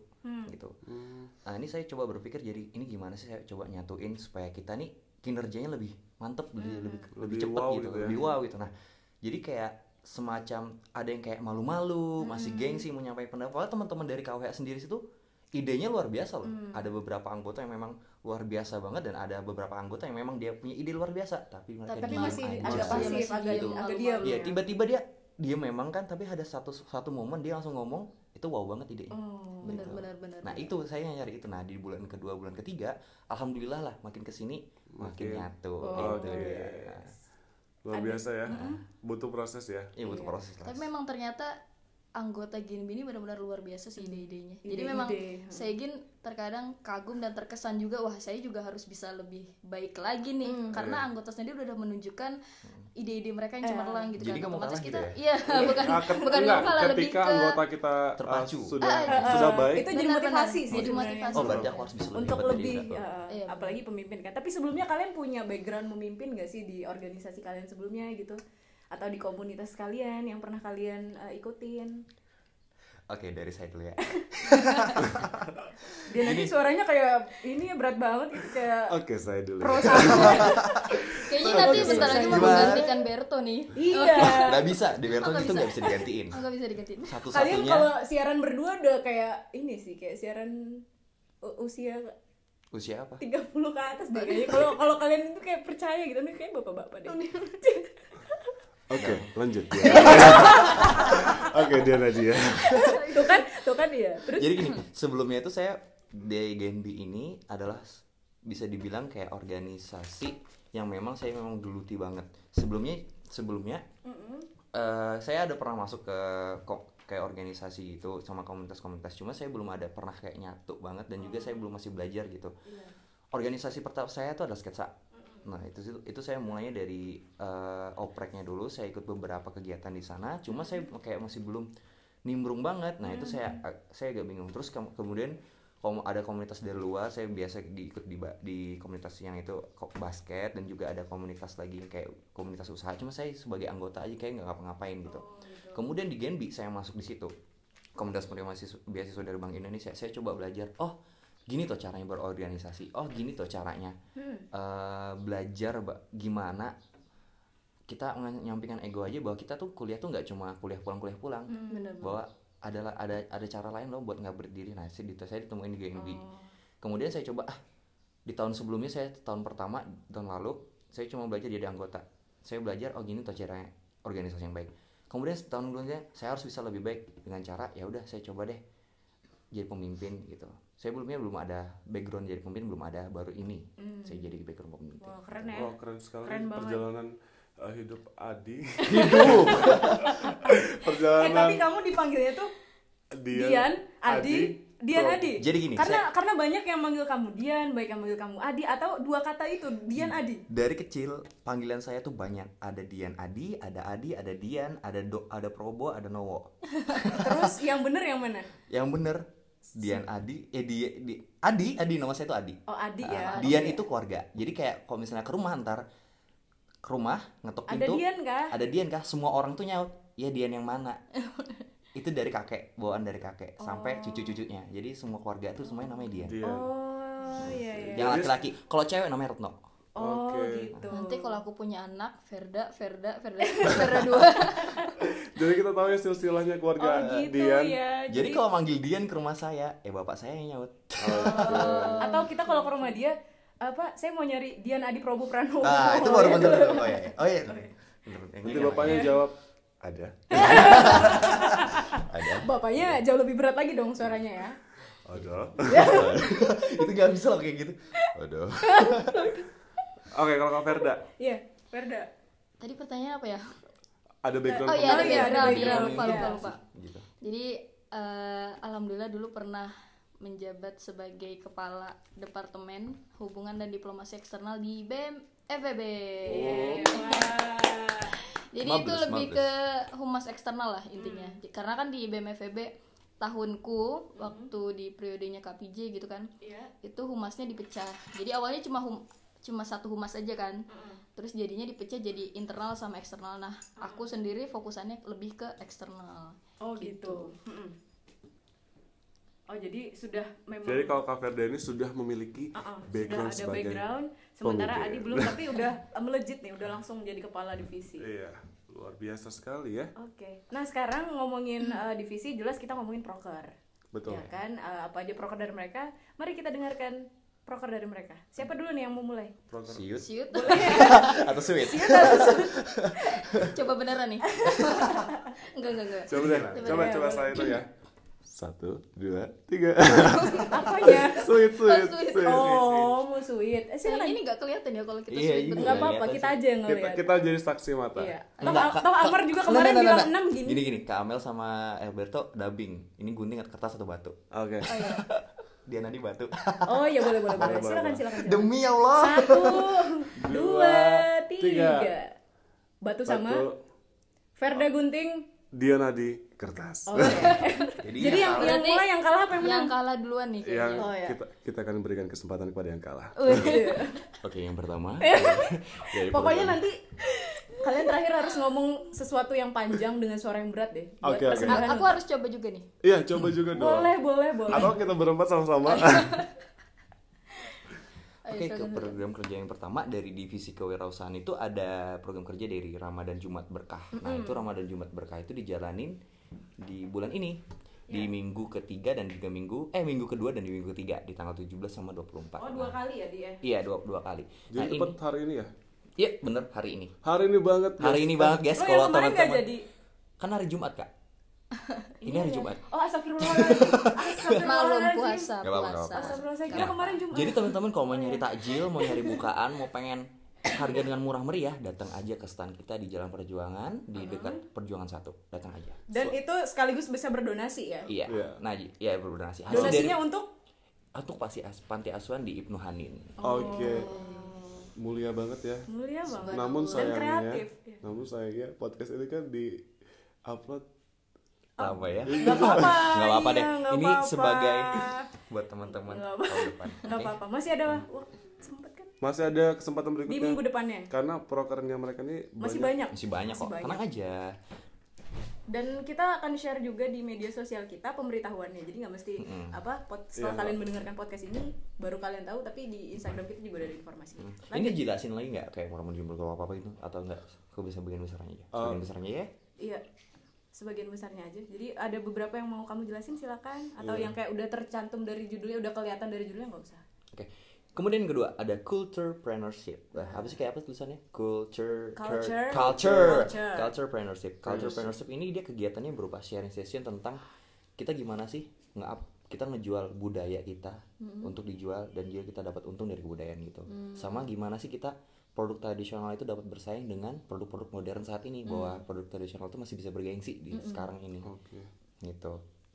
S3: gitu.
S1: hmm,
S3: Nah ini saya coba berpikir jadi ini gimana sih saya coba nyatuin supaya kita nih kinerjanya lebih mantep lebih
S2: Hmm.
S3: lebih lebih,
S1: Lebih
S3: cepet
S1: wow
S3: gitu,
S1: gitu ya.
S3: lebih wow gitu. Nah jadi kayak semacam ada yang kayak malu-malu masih
S2: Hmm.
S3: gengsi mau nyampein pendapat. Padahal teman-teman dari KWH sendiri situ idenya luar biasa loh.
S2: Hmm.
S3: Ada beberapa anggota yang memang luar biasa banget dan ada beberapa anggota yang memang dia punya ide luar biasa tapi mereka
S2: Tapi
S3: diem
S2: masih
S3: aja.
S2: agak
S4: Masih
S2: pasif,
S4: diem,
S2: agak
S4: gitu.
S2: agak diam. ya.
S3: Iya, tiba-tiba dia dia memang kan, tapi ada satu satu momen dia langsung ngomong itu wow banget
S4: Iya.
S3: idenya.
S2: Oh.
S4: Benar benar benar.
S3: Nah itu saya nyari itu. Nah di bulan kedua bulan ketiga, alhamdulillah lah makin kesini makin,
S1: Makin.
S3: nyatu.
S1: Oke.
S3: gitu ya. Nah,
S1: Luar biasa ya. Butuh proses ya.
S3: Iya butuh proses lah.
S4: Tapi memang ternyata anggota Genbi ini benar-benar luar biasa sih ide-idenya. Jadi
S2: Ide-ide.
S4: memang saya Gin terkadang kagum dan terkesan juga wah saya juga harus bisa lebih baik lagi nih karena anggota sendiri udah menunjukkan ide-ide mereka yang cemerlang gitu
S3: Jadi
S4: kan.
S3: kamu
S4: Otomatis
S3: kalah
S4: kita
S3: gitu
S4: iya
S2: Eh,
S4: bukan
S1: Nah, ket-
S4: bukan
S1: enggak,
S4: kalah lebih
S1: ketika
S4: ke
S1: anggota kita uh,
S3: Terpacu.
S1: sudah
S4: Ah, ah,
S1: sudah
S2: Eh,
S1: baik.
S2: Itu jadi
S4: Benar-benar.
S2: motivasi sih
S4: Jadi
S2: sebenarnya.
S4: motivasi.
S3: Oh berarti aku harus bisa lebih
S2: untuk
S3: hebat dari
S2: lebih
S3: aku.
S2: ya,
S4: Iya, benar.
S2: apalagi pemimpin kan tapi sebelumnya kalian punya background memimpin gak sih di organisasi kalian sebelumnya gitu atau di komunitas kalian yang pernah kalian eh, ikutin
S3: Oke dari saya dulu ya.
S2: dia nanti suaranya kayak ini ya berat banget gitu kayak
S4: Oh.
S1: Oke, saya dulu.
S2: pro satu
S4: kayaknya nanti
S3: Oke,
S4: bentar
S3: selesai.
S4: lagi mau
S3: Gimana?
S4: menggantikan Berto nih.
S2: iya
S3: Gak bisa di Berton
S4: nggak
S3: itu
S4: bisa.
S3: gak bisa digantiin.
S4: Enggak bisa digantiin.
S2: kalian
S3: Satu-satunya
S2: kalau siaran berdua udah kayak ini sih kayak siaran u- usia
S3: usia apa?
S2: 30 ke atas deh kayaknya kalau kalau kalian itu kayak percaya gitu nih kayak bapak-bapak
S4: Oh,
S2: deh
S4: iya.
S1: Oke, lanjut. Oke, dia Nadi ya.
S2: tuh kan tuh kan ya terus
S3: Jadi gini, sebelumnya itu saya di Genbi ini adalah s- bisa dibilang kayak organisasi yang memang saya memang geluti banget. Sebelumnya sebelumnya eh, saya ada pernah masuk ke kok kayak organisasi gitu sama komunitas-komunitas cuma saya belum ada pernah kayak nyatu banget dan juga saya belum masih belajar gitu. Organisasi pertama saya itu adalah sketsa. Nah, itu itu- itu saya mulainya dari eh, opreknya dulu, saya ikut beberapa kegiatan di sana, cuma saya kayak masih belum nimbrung banget. Nah, itu saya saya agak bingung. Terus kem- kemudian kom- ada komunitas dari luar, saya biasa diikut di ba- di komunitas yang itu ko- basket dan juga ada komunitas lagi yang kayak komunitas usaha, cuma saya sebagai anggota aja kayak nggak ngapa-ngapain gitu. Kemudian di Genbi saya masuk di situ. Komunitas penerima siswa- beasiswa dari Bank Indonesia, saya coba belajar. Oh, gini tuh caranya berorganisasi. Oh, gini tuh caranya eh, belajar ba- gimana kita nge- nyampingkan ego aja bahwa kita tuh kuliah tuh nggak cuma kuliah pulang kuliah pulang
S4: Benar.
S3: bahwa adalah ada ada cara lain loh buat nggak berdiri nah saya, dit- saya ditemuin di GNB kemudian saya coba ah di tahun sebelumnya saya tahun pertama tahun lalu saya cuma belajar jadi anggota saya belajar oh gini tuh caranya organisasi yang baik kemudian tahun sebelumnya saya harus bisa lebih baik dengan cara ya udah saya coba deh jadi pemimpin gitu saya belumnya belum ada background jadi pemimpin belum ada baru ini saya jadi background pemimpin
S2: wah keren ya
S1: Wah, keren sekali
S2: Keren banget.
S1: perjalanan eh, hidup Adi.
S3: hidup
S2: eh tapi
S1: perjalanan
S2: kamu dipanggilnya tuh Dian, Adi, Dian
S1: Pro.
S2: Adi.
S3: Jadi gini,
S2: karena karena banyak yang manggil kamu Dian, baik yang manggil kamu Adi atau dua kata itu Dian
S3: Hmm.
S2: Adi.
S3: dari kecil panggilan saya tuh banyak ada Dian Adi ada Adi ada Dian ada Do ada Probo ada Nowo
S2: Terus yang bener yang mana?
S3: yang bener Dian Adi eh di, di- Adi Adi nama saya tuh Adi
S2: Oh Adi ya.
S3: Ah, Dian
S2: Oke.
S3: itu keluarga jadi kayak kalau misalnya ke rumah ntar ke rumah ngetok
S2: Ada
S3: pintu
S2: Dian kah?
S3: ada Dian kah semua orang tuh nyaut ya Dian yang mana itu dari kakek bawaan dari kakek
S2: Oh.
S3: sampai cucu-cucunya jadi semua keluarga tuh semuanya namanya Dian
S1: Dian.
S2: Oh iya iya.
S3: Ya. yang laki-laki kalau cewek namanya Retno
S1: Oke.
S2: Oh gitu.
S4: Nanti kalau aku punya anak, Verda, Verda, Verda, satu, Verda dua.
S1: Jadi kita tahu ya silsilahnya
S2: Oh
S1: keluarga
S2: gitu
S1: Dian.
S2: ya.
S3: Jadi kalau manggil Dian ke rumah saya, eh bapak saya yang nyaut.
S2: Eh, atau kita kalau ke rumah dia apa saya mau nyari Dian Adi Prabu Pranowo.
S3: Ah, itu baru bener tuh. Oh iya. Oh iya. Bener. Yang
S1: Nanti
S3: ini
S1: bapaknya jawab, ada.
S3: namanya. ada.
S2: Bapaknya jauh lebih berat lagi dong suaranya ya.
S1: Ada.
S3: itu gak bisa loh kayak gitu. Aduh.
S1: Oke, kalau Kak Verda,
S2: Iya, Verda.
S4: Tadi pertanyaan apa ya?
S1: ada background
S4: Oh iya, ada
S1: pendidikan
S2: iya, ada
S4: background. Iya,
S2: background,
S4: lupa,
S2: iya.
S4: lupa, lupa.
S3: Gitu.
S4: Jadi eh, alhamdulillah dulu pernah menjabat sebagai kepala departemen hubungan dan diplomasi eksternal di eh, BM FEB.
S1: Oh.
S4: Jadi itu
S3: Oh. Mabes,
S4: lebih
S3: mabes.
S4: ke humas eksternal lah intinya. J- Karena kan di BMFB tahunku waktu di periodenya KPJ gitu kan.
S2: Iya.
S4: Itu humasnya dipecah. Jadi awalnya cuma hum- cuma satu humas aja kan. Terus jadinya dipecah jadi internal sama eksternal. Nah, aku sendiri fokusannya lebih ke eksternal.
S2: Oh gitu. Mm-mm. Oh jadi sudah memang
S1: Jadi kalau Kak Verda ini sudah memiliki
S2: Ah, ah,
S1: background
S2: sudah ada
S1: sebagai
S2: background, sementara
S1: pemimpin.
S2: Adi belum tapi udah eh, melejit nih, udah langsung jadi kepala divisi.
S1: Iya, luar biasa sekali ya.
S2: Oke. Nah, sekarang ngomongin
S3: Mm.
S2: eh, divisi jelas kita ngomongin proker.
S1: Betul.
S2: Ya kan? Eh, apa aja proker dari mereka? Mari kita dengarkan proker dari mereka. Siapa dulu nih yang mau mulai?
S1: Program
S3: Siut
S4: Siut.
S3: atau sweet?
S4: coba beneran nih. enggak, enggak, enggak.
S1: Coba deh,
S4: Coba
S1: coba
S4: deh.
S1: coba saya itu ya. Satu, dua, tiga.
S2: Apanya?
S1: sweet, sweet,
S4: Oh, sweet.
S1: sweet. sweet.
S2: Oh, musuit. Eh,
S4: Yang
S2: silakan.
S4: ini nggak kelihatan ya kalau kita
S3: Iya,
S4: sweet
S3: ini
S4: beneran.
S2: Enggak apa-apa, kita aja yang
S1: Kita
S2: ngeliat.
S1: kita jadi saksi mata.
S2: Iya. Toh,
S3: Enggak, Kak-
S2: toh
S3: Kak-
S2: Amar juga
S3: Enggak,
S2: kemarin
S3: enggak,
S2: bilang
S3: enggak,
S2: enam
S3: enggak.
S2: gini.
S3: Gini gini, Kak Amel sama Alberto dubbing. Ini gunting atau kertas atau batu?
S1: Oke.
S2: iya.
S3: Diana di batu.
S2: Oh iya boleh boleh boleh.
S1: Boleh,
S2: Silakan
S1: boleh,
S2: silakan. silakan.
S3: Demi Allah.
S2: Satu, dua,
S1: Dua,
S2: tiga.
S1: tiga.
S2: Batu
S1: Satu,
S2: sama Verda Gunting.
S1: dia nadi kertas.
S2: Oke.
S3: Jadi, ya,
S2: Jadi yang yang
S4: Berarti
S2: mulai yang kalah apa yang menang?
S4: Yang kalah duluan nih
S1: Yang
S4: kayaknya.
S2: Oh, iya.
S1: kita kita akan berikan kesempatan kepada yang kalah.
S3: Oke, yang pertama. Dari
S2: Iya. Pokoknya
S3: program.
S2: nanti kalian terakhir harus ngomong sesuatu yang panjang dengan suara yang berat deh. Buat
S1: Oke, oke.
S4: A-
S2: persembahan.
S4: Aku harus coba juga nih.
S1: Iya, coba juga dong.
S2: Boleh boleh boleh.
S1: Atau kita berempat sama-sama.
S4: Ayo,
S3: Oke, ke
S4: silakan, silakan.
S3: program kerja yang pertama dari divisi kewirausahaan itu ada program kerja dari Ramadan Jumat Berkah. Nah, itu Ramadan Jumat Berkah itu dijalanin di bulan ini
S2: Ya.
S3: di minggu ketiga dan juga minggu eh minggu kedua dan di minggu ketiga di tanggal 17 sama 24.
S2: Oh dua
S3: Nah,
S2: kali ya dia.
S3: Iya, dua, dua kali.
S1: Jadi
S3: nah,
S1: tepat
S3: ini
S1: hari ini ya.
S3: Iya, bener hari ini.
S1: Hari ini banget.
S3: Hari ini banget,
S2: Oh
S3: guys, kalau
S2: yang kemarin nggak
S3: teman-teman.
S2: jadi.
S3: Kan hari Jumat, Kak. ini hari Jumat.
S2: Oh astagfirullahaladzim.
S4: Maklum
S2: Astagfirullahaladzim.
S4: puasa,
S3: Gak apa-apa,
S4: puasa.
S3: gak
S2: Astagfirullah saya kira
S3: Nah,
S2: kemarin Jumat. Iya.
S3: Jadi teman-teman kalau mau nyari takjil, mau nyari bukaan, mau pengen harga dengan murah meriah, datang aja ke stand kita di Jalan Perjuangan di
S2: Uh-huh.
S3: dekat Perjuangan 1. Datang aja.
S2: Dan
S3: So,
S2: itu sekaligus bisa berdonasi ya.
S3: Iya.
S1: Iya.
S3: Nah, j- iya berdonasi. Hasil dari
S2: Donasinya untuk
S3: Atuk pasti as, panti asuhan di Ibnu Hanin.
S1: Oke. Mulia banget ya.
S2: Oh. mulia banget.
S1: Namun
S2: Dan
S1: sayangnya,
S2: kreatif. iya.
S1: namun sayangnya podcast ini kan di upload
S3: Lama ya?
S2: Gak Oh. apa-apa.
S3: Nggak apa-apa deh.
S2: iya, nggak
S3: Ini
S2: apa-apa.
S3: sebagai buat teman-teman
S2: Nggak apa-
S3: tahun depan.
S2: Gak
S3: Oke?
S2: apa-apa. Masih ada waktu sempat kan
S1: masih ada kesempatan
S2: di
S1: berikutnya.
S2: minggu depannya.
S1: Karena prokernya mereka ini
S2: Masih
S1: banyak.
S2: banyak.
S3: Masih banyak kok. kan-
S2: Masih
S3: Tenang aja.
S2: Dan kita akan share juga di media sosial kita pemberitahuannya. Jadi nggak mesti apa pod- setelah
S1: Iya.
S2: kalian mendengarkan podcast ini baru kalian tahu tapi di Instagram kita juga ada informasi.
S3: Mm. Ini jelasin lagi nggak kayak mau jumlah apa apa itu atau enggak? Aku bisa bagian besarnya aja. Bagian besarnya ya.
S2: Iya. Sebagian besarnya aja. Jadi ada beberapa yang mau kamu jelasin silakan atau
S3: Iya.
S2: yang kayak udah tercantum dari judulnya, udah kelihatan dari judulnya nggak usah.
S3: Oke. Kemudian yang kedua ada culturepreneurship. Nah, apa sih kayak apa tulisannya? Culture
S2: Culture.
S3: cur- culture
S2: Culture.
S3: culturepreneurship. Culturepreneurship ini dia kegiatannya berupa sharing session tentang kita gimana sih nge-up kita ngejual budaya kita untuk dijual dan juga kita dapat untung dari kebudayaan gitu.
S2: Mm.
S3: Sama gimana sih kita produk tradisional itu dapat bersaing dengan produk-produk modern saat ini
S2: Mm.
S3: bahwa produk tradisional itu masih bisa bergengsi di sekarang ini.
S2: Oh.
S1: Oke.
S3: Gitu.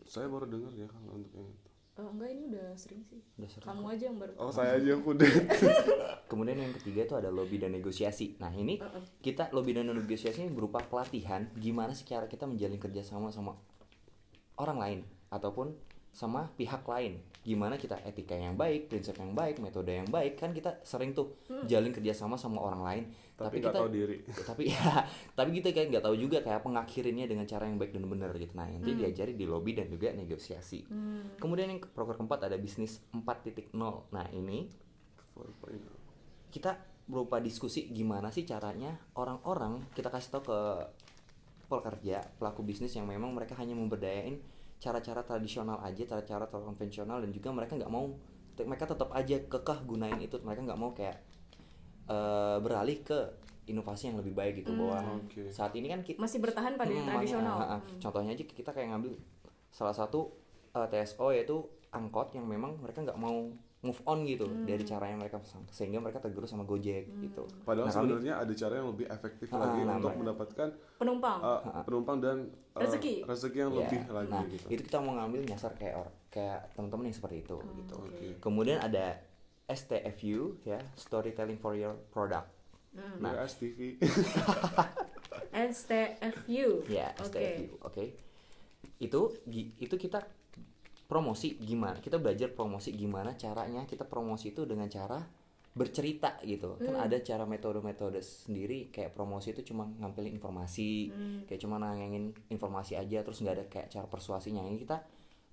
S1: Saya baru dengar ya kalau untuk yang itu.
S2: Oh, enggak ini udah sering sih.
S3: Udah seru.
S2: Kamu aja yang baru.
S1: Oh, saya aja yang kudet.
S3: Kemudian yang ketiga itu ada lobby dan negosiasi. Nah ini kita lobby dan negosiasi ini berupa pelatihan gimana sih cara kita menjalin kerjasama sama orang lain ataupun sama pihak lain. Gimana kita etika yang baik, prinsip yang baik, metode yang baik kan kita sering tuh jalin kerjasama sama orang lain.
S1: Tapi
S3: Tapi,
S1: nggak
S3: kita
S1: tahu diri.
S3: Tapi ya, tapi kita kayak nggak tahu juga kayak pengakhirinnya dengan cara yang baik dan benar gitu. Nah nanti diajari di lobby dan juga negosiasi. Kemudian yang ke- proker keempat ada bisnis 4.0. Nah ini kita berupa diskusi gimana sih caranya orang-orang kita kasih tahu ke pekerja pelaku bisnis yang memang mereka hanya memberdayain cara-cara tradisional aja cara-cara konvensional dan juga mereka nggak mau te- mereka tetap aja kekeh gunain itu mereka nggak mau kayak eh, beralih ke inovasi yang lebih baik gitu bahwa
S1: Oke.
S3: saat ini kan kita
S2: masih bertahan pada yang
S3: Hmm,
S2: tradisional.
S3: makanya, ah, ah. Contohnya aja kita kayak ngambil salah satu eh, TSO yaitu angkot yang memang mereka nggak mau move on gitu
S2: Hmm.
S3: dari cara yang mereka pesan sehingga mereka tergerus sama Gojek gitu.
S1: Padahal
S3: Nah, kami-
S1: sebenarnya ada cara yang lebih efektif
S3: Ah,
S1: lagi
S3: nah,
S1: untuk
S3: mereka-
S1: mendapatkan
S2: Penumpang.
S3: Oh.
S1: uh, penumpang dan uh,
S2: Ah. Rezeki.
S1: yang
S3: Ya,
S1: lebih lagi
S3: nah,
S1: gitu.
S3: itu kita mau ngambil nyasar kayak or, kayak teman-teman yang seperti itu gitu.
S1: Oke.
S3: Kemudian ada STFU ya, storytelling for your product.
S2: Hmm.
S3: Nah,
S1: Nah, TV.
S2: STFU.
S3: Ya, STFU. Oke. Itu gi- itu kita promosi gimana? Kita belajar promosi gimana caranya kita promosi itu dengan cara bercerita gitu. Kan
S2: Hmm.
S3: ada cara metode-metode sendiri kayak promosi itu cuma ngampilin informasi,
S2: Hmm.
S3: kayak cuma nangengin informasi aja terus nggak ada kayak cara persuasinya. Ini kita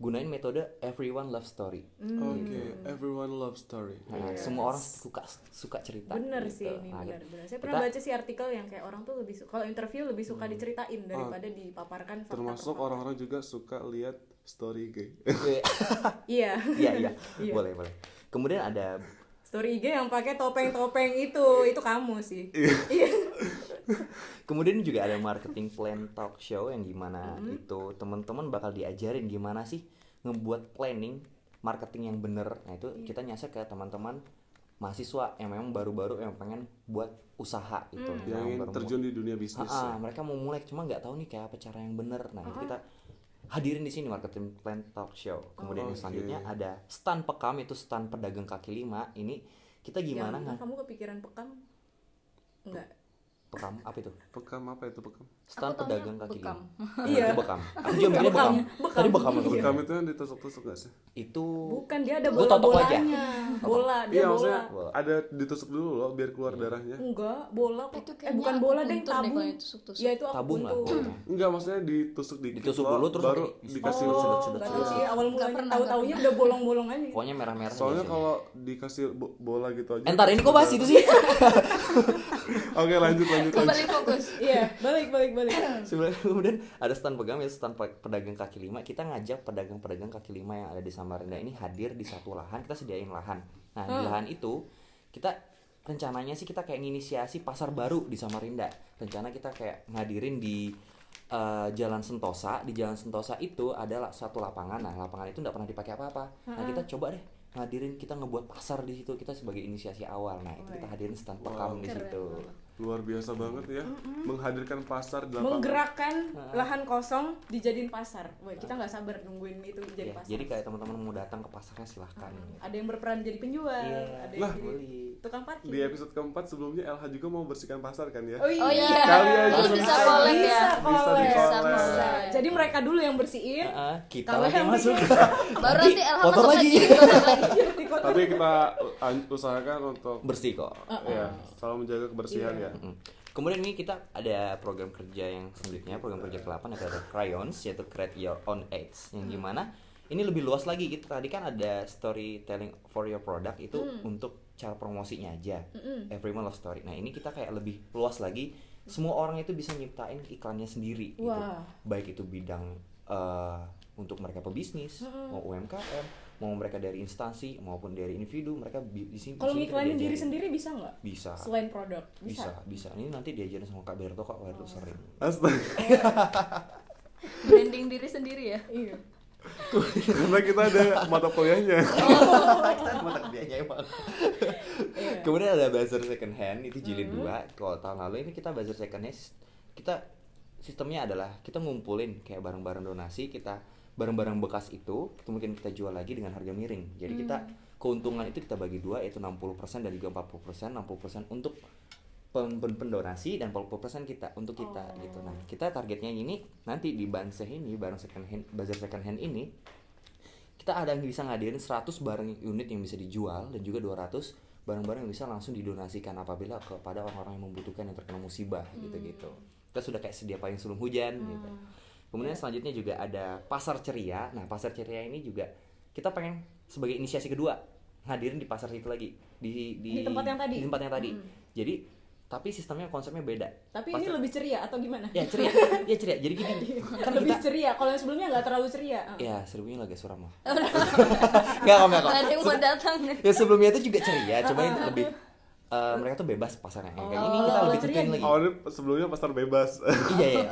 S3: gunain metode everyone love story.
S2: Hmm.
S1: Oke, everyone love story.
S3: Nah, semua orang suka suka cerita.
S2: Bener
S3: gitu.
S2: sih ini
S3: Nah,
S2: bener,
S3: gitu.
S2: bener. Saya pernah
S3: Kita-
S2: baca sih artikel yang kayak orang tuh lebih su- kalau interview lebih suka
S3: Hmm.
S2: diceritain daripada
S3: Oh.
S2: dipaparkan fakta
S1: Termasuk
S2: per fakta.
S1: orang-orang juga suka lihat story
S3: Hmm,
S1: gay.
S2: Iya.
S3: Iya, iya. Boleh, boleh. Kemudian ada
S2: Story IG yang pakai topeng-topeng itu,
S3: Iya.
S2: itu kamu sih. Iya.
S3: Kemudian juga ada marketing plan talk show yang gimana itu teman-teman bakal diajarin gimana sih ngebuat planning marketing yang bener. Nah itu kita nyasar ke teman-teman mahasiswa yang memang baru-baru yang pengen buat usaha gitu. Nah,
S1: yang ingin
S3: baru-
S1: terjun di dunia bisnis. ya.
S3: Ah, ah, mereka mau mulai cuma nggak tahu nih kayak apa cara yang bener. Nah itu kita hadirin di sini marketing plan talk show. Kemudian yang
S1: Oh, Oke.
S3: selanjutnya ada stand pekam itu stand pedagang kaki lima. Ini kita gimana
S2: Yang
S3: nggak
S2: kamu kepikiran pekam? Enggak.
S3: pekam apa itu?
S1: Pekam apa itu pekam?
S3: Stand
S4: Aku taunya
S3: pedagang kaki
S4: bekam.
S3: lima.
S2: Iya.
S3: Itu bekam. Aku juga mikirnya bekam.
S2: Bekam.
S3: Tadi bekam aku
S1: Pekam
S3: mikirnya.
S1: itu yang ditusuk-tusuk gak sih?
S3: Itu
S2: Bukan dia ada
S3: Gua totok aja.
S2: bola-bolanya. Bola, dia
S1: Iya maksudnya
S2: bola.
S3: Bola. Iya.
S1: ada ditusuk dulu loh biar keluar darahnya.
S2: Enggak, bola kok.
S4: Itu
S2: eh
S4: kayaknya
S2: bukan
S4: aku
S2: bola deh,
S4: kuntur deh
S2: tabung.
S4: kalau yang tusuk-tusuk.
S2: Ya itu aku
S3: tabung lah
S2: kuntur.
S3: pokoknya.
S1: Enggak maksudnya ditusuk dikit
S3: Ditusuk
S1: loh,
S3: dulu terus
S1: baru
S3: nanti
S1: dikasih
S3: disedot,
S1: usul.
S2: Oh,
S3: sedot,
S2: enggak
S3: sedot,
S2: tahu sih
S4: sedot.
S2: awal
S4: Enggak
S2: mulanya
S4: pernah,
S2: tahu-taunya udah bolong-bolong aja.
S3: pokoknya merah-merah
S1: Soalnya
S3: biasanya.
S1: kalau dikasih bo- bola gitu aja.
S3: entar ini kok bahas itu sih?
S1: Oke, lanjut lanjut lanjut.
S4: Kembali fokus.
S2: Iya, balik balik balik.
S3: Sebelum- Kemudian ada stand pegang ya stand pe- pedagang kaki lima. Kita ngajak pedagang-pedagang kaki lima yang ada di Samarinda ini hadir di satu lahan. Kita sediain lahan. Nah
S2: Hmm.
S3: di lahan itu kita rencananya sih kita kayak nginisiasi pasar baru di Samarinda. Rencana kita kayak ngadirin di eh, Jalan Sentosa. Di Jalan Sentosa itu ada la- satu lapangan. Nah lapangan itu nggak pernah dipakai apa-apa. Nah
S2: Hmm.
S3: kita coba deh ngadirin kita ngebuat pasar di situ kita sebagai inisiasi awal. Nah itu kita hadirin stand pekam di
S4: Keren
S3: situ.
S4: banget.
S1: Luar biasa banget ya, menghadirkan pasar di lapangan.
S2: Menggerakkan lahan kosong dijadiin pasar. Wah, kita nggak sabar nungguin itu jadi
S3: Ya,
S2: pasar. Hmm.
S3: jadi kayak teman-teman mau datang ke pasarnya silahkan.
S2: Ada yang berperan jadi penjual,
S3: Iya.
S2: ada yang
S1: Lah,
S2: jadi tukang parkir.
S1: Di episode keempat sebelumnya LH juga mau bersihkan pasar kan ya?
S2: Oh iya.
S4: Oh iya.
S1: Kali aja
S4: Jadi bisa
S1: selesai.
S4: collab
S2: Bisa
S4: ya.
S1: Bisa di
S2: collab.
S1: collab.
S2: Bisa. Jadi mereka dulu yang bersihin.
S3: Heeh, kita
S2: Kalau
S3: lagi
S2: yang Iya,
S3: masuk.
S4: Baru nanti Elha
S3: kotor
S4: masuk
S3: lagi.
S4: lagi. kotor lagi.
S2: Di
S3: iya.
S2: kota.
S1: Tapi kita an- usahakan untuk
S3: Bersih kok.
S1: ya selalu menjaga kebersihan ya.
S2: Iya.
S3: Mm. Kemudian ini kita ada program kerja yang
S2: Hmm.
S3: selanjutnya, program kerja ke-8 ada ada Crayons yaitu Create Your Own Ads.
S2: Hmm.
S3: Yang gimana? Ini lebih luas lagi gitu. Tadi kan ada storytelling for your product itu
S2: Hmm.
S3: untuk cara promosinya aja. Everyone love story. Nah, ini kita kayak lebih luas lagi. Semua orang itu bisa nyiptain iklannya sendiri gitu.
S2: Wah.
S3: Baik itu bidang eh, untuk mereka pebisnis, mau UMKM, mau mereka dari instansi maupun dari individu, mereka bi- di sini di
S2: Kalau
S3: sini kita
S2: ngiklanin diri
S3: diajarin.
S2: sendiri bisa nggak?
S3: bisa
S2: Selain produk
S3: bisa
S2: bisa.
S3: bisa ini nanti diajarin sama kak Berto kok Berto sering
S1: Astaga,
S4: Branding diri sendiri ya.
S2: Iya.
S1: karena kita ada mata kuliahnya.
S3: kemudian ada buzzer second hand itu jilid dua kalau tahun lalu ini kita buzzer second hand sis- kita sistemnya adalah kita ngumpulin kayak barang-barang donasi kita barang-barang bekas itu mungkin kita jual lagi dengan harga miring jadi kita keuntungan itu kita bagi dua yaitu 60% dan juga 40% 60% untuk pen- pen- pendonasi dan 40% kita untuk kita gitu nah kita targetnya ini nanti di banseh ini barang second hand bazar second hand ini kita ada yang bisa ngadirin 100 barang unit yang bisa dijual dan juga 200 barang-barang yang bisa langsung didonasikan apabila kepada orang-orang yang membutuhkan yang terkena musibah
S2: Hmm.
S3: gitu-gitu. Kita sudah kayak sedia payung sebelum hujan gitu. Kemudian selanjutnya juga ada pasar ceria. Nah, pasar ceria ini juga kita pengen sebagai inisiasi kedua ngadirin di pasar itu lagi di
S2: Di tempat yang tadi? Hmm.
S3: di tempat yang tadi Jadi tapi sistemnya konsepnya beda.
S2: Tapi
S3: Pasti-
S2: ini lebih ceria atau gimana?
S3: ya ceria, ya ceria. Jadi gini, kan
S2: lebih
S3: kita
S2: ceria. Kalau yang sebelumnya nggak terlalu ceria. Ah.
S3: ya seribunya agak suram lah. Enggak kok, enggak kok.
S4: Ada yang mau datang nih.
S3: Ya sebelumnya itu juga ceria, cuma yang lebih eh, mereka tuh bebas pasarnya. Kayak ini
S2: Oh,
S3: kita
S2: kalau
S3: lebih
S2: ceria
S3: kenceng lagi.
S2: gitu.
S1: Oh, ini sebelumnya pasar bebas.
S2: Ah,
S3: Iya iya.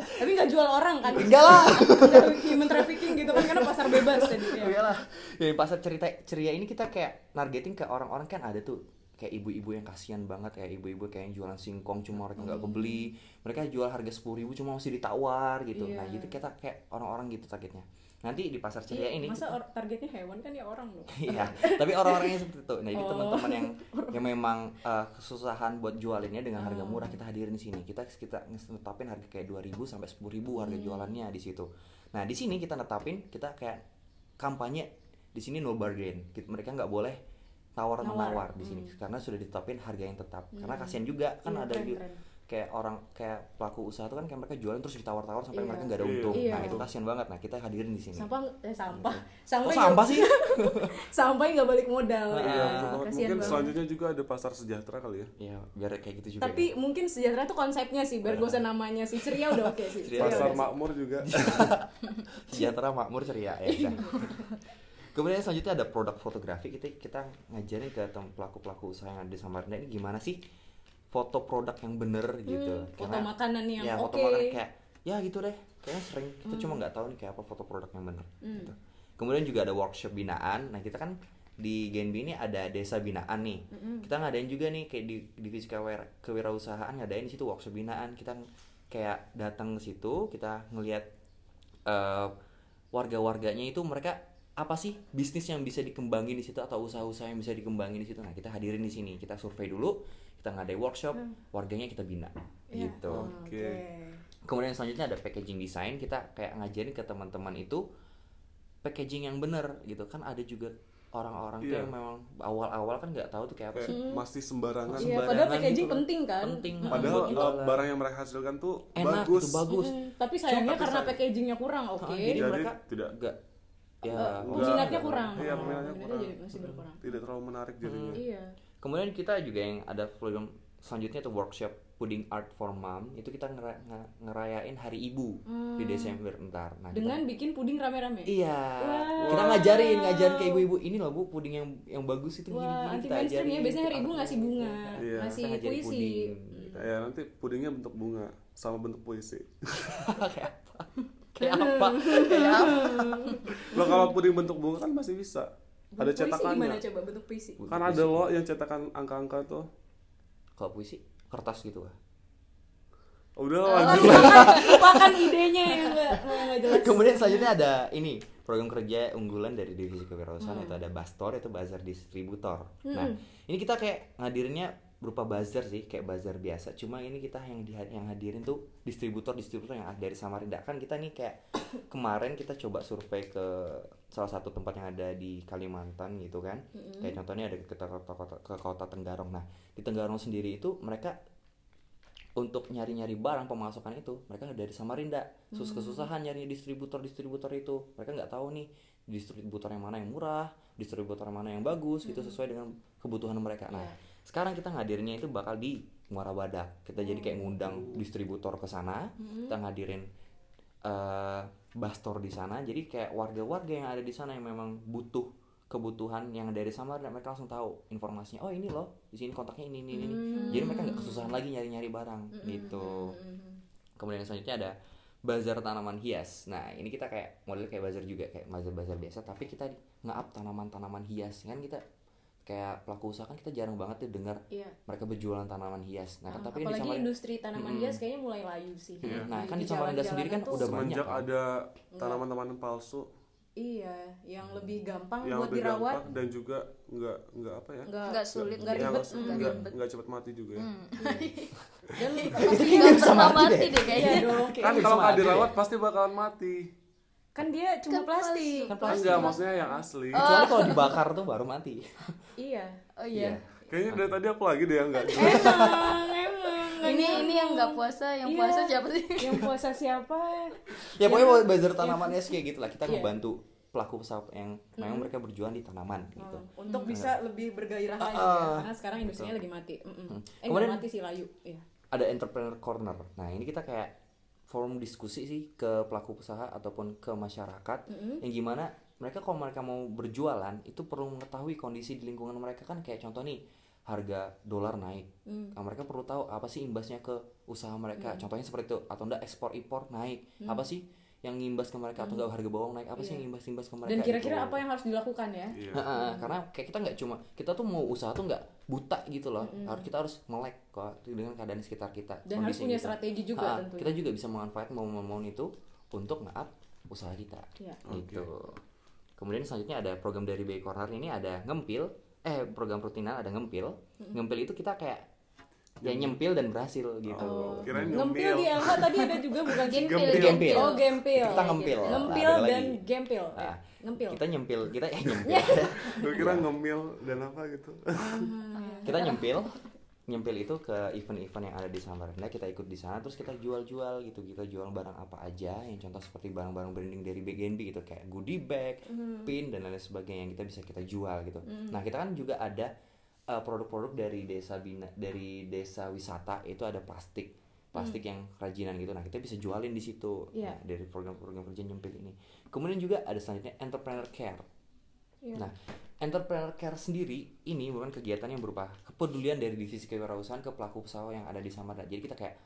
S2: Tapi nggak jual orang kan?
S3: Enggak lah.
S2: Nggak human trafficking gitu kan karena pasar bebas tadi. ya.
S3: iyalah ya pasar cerita ceria ini kita kayak targeting ke orang-orang kan ada tuh kayak ibu-ibu yang kasihan banget kayak ibu-ibu kayak yang jualan singkong cuma mereka
S2: Hmm.
S3: nggak kebeli mereka jual harga sepuluh ribu cuma masih ditawar gitu nah
S2: Iya.
S3: gitu kita kayak orang-orang gitu targetnya nanti di pasar ceria
S2: Iya,
S3: ini
S2: Masa or- targetnya hewan kan ya orang loh.
S3: Iya, tapi orang-orangnya seperti itu. Nah, jadi
S2: Oh.
S3: teman-teman yang yang memang eh, kesusahan buat jualinnya dengan harga
S2: Hmm.
S3: murah kita hadirin di sini. Kita kita netapin harga kayak 2000 sampai 10.000
S2: Hmm.
S3: harga jualannya di situ. Nah, di sini kita netapin kita kayak kampanye di sini no bargain. Kita- mereka nggak boleh tawar menawar di sini karena sudah ditetapin harga yang tetap. Karena kasihan juga kan
S2: Hmm. Iya,
S3: ada
S2: keren,
S3: ju-
S2: keren.
S3: kayak orang kayak pelaku usaha itu kan kayak mereka jualan terus ditawar-tawar sampai
S2: Iya.
S3: mereka nggak ada
S1: Iya.
S3: untung.
S2: Iya.
S3: Nah, itu kasihan banget. Nah, kita hadirin di sini.
S2: Sampah eh sampah.
S3: Kok
S2: Sampai
S3: Oh, sampah sih?
S2: Sampai nggak balik modal.
S3: Nah,
S2: ya.
S1: Iya, betul banget.
S2: Kasihan
S1: mungkin
S2: banget.
S1: selanjutnya juga ada pasar sejahtera kali ya.
S3: Iya, biar kayak gitu juga. ya. Iya.
S2: Tapi mungkin sejahtera tuh konsepnya sih, biar gak usah namanya sih. Ceria udah oke sih.
S3: Ceria Iya,
S1: pasar
S2: udah sih.
S1: makmur juga.
S2: Iya,
S3: sejahtera makmur ceria ya udah. kemudian selanjutnya ada produk fotografi kita kita ngajarin ke pelaku pelaku usaha yang ada di Samarinda ini gimana sih foto produk yang bener gitu
S2: Hmm, foto makanan yang
S3: ya, foto
S2: oke. Hmm.
S3: makanan kayak ya gitu deh kayaknya sering kita cuma nggak tahu nih kayak apa foto produk yang bener gitu. kemudian juga ada workshop binaan nah kita kan di Genbi ini ada desa binaan nih kita ngadain juga nih kayak di divisi kewira- kewirausahaan ngadain di situ workshop binaan kita kayak datang ke situ kita ngelihat eh, warga-warganya itu mereka apa sih bisnis yang bisa dikembangin di situ atau usaha-usaha yang bisa dikembangin di situ. Nah, kita hadirin di sini, kita survei dulu, kita ngadain workshop,
S2: Hmm.
S3: warganya kita bina.
S2: Iya.
S3: Gitu.
S2: Oh.
S1: Oke.
S3: Kemudian selanjutnya ada packaging design, kita kayak ngajarin ke teman-teman itu packaging yang bener gitu. Kan ada juga orang-orang tuh
S1: Iya.
S3: yang memang awal-awal kan nggak tahu tuh kayak apa
S1: Kayak
S3: sih.
S1: masih sembarangan.
S2: Iya,
S3: Sembarangan
S2: padahal packaging
S3: gitu loh.
S2: penting kan?
S3: Penting.
S1: Padahal
S3: buat
S1: eh,
S3: kita lah.
S1: barang yang mereka hasilkan tuh
S3: enak
S1: bagus.
S3: gitu, bagus.
S2: Mm, tapi sayangnya
S1: Tapi
S2: karena
S1: sayang-
S2: packagingnya kurang, oke.
S3: Ah, jadi,
S1: Jadi
S3: mereka
S1: tidak-
S3: nggak ya
S1: Nggak-
S2: Peminatnya Oh, kurang.
S1: Iya, peminatnya
S2: Peminatnya
S1: kurang.
S2: jadi masih berkurang.
S1: Tidak terlalu menarik jadinya.
S2: Iya.
S3: Kemudian kita juga yang ada program selanjutnya tuh workshop Pudding Art for Mom itu kita ngera- nge- ngerayain Hari Ibu di Desember ntar.
S2: Hmm.
S3: Nah, kita-
S2: Dengan bikin puding rame-rame.
S3: iya,
S2: Wow.
S3: kita ngajarin ngajarin ke ibu-ibu ini loh bu puding yang yang bagus itu gini
S2: Wah,
S3: gini
S2: anti
S3: kita
S2: mainstream
S3: ajarin. gitu.
S2: ya. Biasanya hari
S3: Kita
S2: ibu ngasih bunga,
S1: Iya.
S2: ngasih
S3: ngajarin
S2: puisi. Iya.
S3: puding, gitu.
S1: Ya, nanti pudingnya bentuk bunga sama bentuk puisi.
S3: kayak apa? Kayak apa? Kayak apa?
S1: Loh kalau puding bentuk bunga kan masih bisa. Ada
S2: Bentuk Puisi gimana
S1: cetakannya.
S2: coba bentuk puisi?
S1: Kan ada loh yang cetakan angka-angka tuh.
S3: Kalau puisi kertas gitu lah.
S1: Udah
S2: Lupakan,
S1: lanjut.
S2: lupakan idenya yang nggak nggak jelas.
S3: ya, Kemudian selanjutnya ada ini program kerja unggulan dari divisi kewirausahaan itu ada Bastor itu bazar distributor. Nah, ini kita kayak ngadirinnya berupa bazar sih, kayak bazar biasa. Cuma ini kita yang di, yang hadirin tuh distributor-distributor yang dari Samarinda. Kan kita nih kayak kemarin kita coba survei ke salah satu tempat yang ada di Kalimantan gitu kan. Kayak contohnya ada ke kota, kota- ke kota Tenggarong. Nah, di Tenggarong sendiri itu mereka untuk nyari-nyari barang pemasukan itu mereka dari Samarinda sus kesusahan nyari distributor-distributor itu mereka nggak tahu nih distributor yang mana yang murah distributor yang mana yang bagus gitu sesuai dengan kebutuhan mereka nah sekarang kita ngadirinnya itu bakal di Muara Badak kita jadi kayak ngundang distributor ke sana kita ngadirin eh, bastor di sana jadi kayak warga-warga yang ada di sana yang memang butuh kebutuhan yang dari Samarinda mereka langsung tahu informasinya oh ini loh di sini kontaknya ini ini ini ini."
S4: Hmm.
S3: jadi mereka nggak kesusahan lagi nyari-nyari barang
S2: Hmm,
S3: gitu kemudian selanjutnya ada bazar tanaman hias nah ini kita kayak model kayak bazar juga kayak bazar-bazar biasa tapi kita nge-up tanaman-tanaman hias kan kita kayak pelaku usaha kan kita jarang banget tuh dengar
S2: Iya.
S3: mereka berjualan tanaman hias nah kan tapi ini
S2: Ah, Apalagi
S3: sama
S2: industri tanaman hias kayaknya mulai layu sih.
S3: Mm, nah,
S2: Di-
S3: kan di
S2: jalan-jalan
S3: Samarinda sendiri kan
S2: tuh-
S3: udah banyak
S1: Semenjak
S3: kan?
S1: ada tanaman-tanaman palsu
S2: Iya, yang lebih gampang
S1: yang
S2: Ah, buat
S1: lebih
S2: dirawat.
S1: gampang dan juga nggak nggak apa ya?
S2: Enggak
S4: Nggak sulit.
S2: nggak
S1: Yang
S2: ribet,
S1: nggak-
S2: nggak
S1: nggak-
S4: ribet.
S1: nggak cepat mati juga ya.
S2: dan pasti
S4: Nggak
S3: bisa
S4: pernah
S3: mati
S4: mati
S3: deh.
S4: deh
S2: iya
S4: kayaknya.
S2: dong.
S1: Kan
S3: Bisa
S1: kalau nggak
S3: mati
S1: dirawat pasti bakalan mati.
S2: Kan dia cuma
S4: Kan
S2: plastik.
S4: plastik.
S1: Kan enggak, maksudnya yang asli.
S3: kecuali kalau dibakar tuh baru mati
S2: Iya.
S4: Oh iya.
S1: Kayaknya dari tadi aku lagi deh yang nggak
S2: Emang, emang.
S4: Ini ini yang nggak puasa, yang
S2: Iya.
S4: puasa siapa sih?
S2: Yang puasa siapa?
S3: ya pokoknya bazar tanaman hias kayak gitu lah kita ngebantu pelaku usaha yang memang mereka berjualan di tanaman gitu.
S2: Hmm.
S3: Ah,
S2: untuk bisa lebih bergairah lagi ya. karena sekarang industrinya lagi mati Mm-mm. eh nggak
S3: Hmm. Kemudian-
S2: mati sih layu Iya.
S3: Ada entrepreneur corner. Nah, ini kita kayak forum diskusi sih ke pelaku usaha ataupun ke masyarakat yang gimana mereka kalau mereka mau berjualan itu perlu mengetahui kondisi di lingkungan mereka kan kayak contoh nih harga dolar naik.
S2: Mm.
S3: Nah, mereka perlu tahu apa sih imbasnya ke usaha mereka. Contohnya seperti itu atau enggak ekspor impor naik.
S2: Mm.
S3: Apa sih yang ngimbas ke mereka atau enggak harga bawang naik? Apa sih yang ngimbas-ngimbas ke mereka?
S2: Iya. dan kira-kira
S3: gitu.
S2: apa yang harus dilakukan ya
S1: Iya.
S3: Heeh, karena kayak kita nggak cuma kita tuh mau usaha tuh nggak buta gitu loh harus kita harus melek kok dengan keadaan sekitar kita
S2: dan harus
S3: kondisi
S2: punya
S3: kita.
S2: strategi juga
S3: Heeh,
S2: tentunya
S3: kita juga bisa memanfaatkan momen-momen itu untuk nge-up usaha kita
S2: Iya.
S3: gitu kemudian selanjutnya ada program dari Bay Corner ini ada ngempil eh program rutinan ada ngempil ngempil itu kita kayak ya nyempil dan berhasil gitu
S1: Oh, kirain
S2: ngempil di LH tadi ada juga bukan sih?
S4: Gempil,
S1: Gempil.
S4: gempil.
S2: oh gempil
S3: Kita ngempil.
S2: gitu. ngempil
S3: Ada lagi.
S2: dan gempil ya.
S3: Ah,
S2: ngempil
S3: kita nyempil kita eh nyempil
S1: Gue kira ngemil dan apa gitu.
S3: kita nyempil nyempil itu ke event-event yang ada di Samarinda kita ikut di sana terus kita jual-jual gitu kita jual barang apa aja yang contoh seperti barang-barang branding dari BGNB gitu kayak goodie bag, pin dan lain sebagainya yang kita bisa kita jual gitu. Nah kita kan juga ada eh, produk-produk dari desa bina dari desa wisata itu ada plastik plastik yang kerajinan gitu. Nah kita bisa jualin di situ
S2: Iya.
S3: Nah, dari program-program kerja nyempil ini. Kemudian juga ada selanjutnya entrepreneur care.
S2: Iya.
S3: Nah, entrepreneur care sendiri ini bukan kegiatan yang berupa kepedulian dari divisi kewirausahaan ke pelaku usaha yang ada di Samarinda. Jadi kita kayak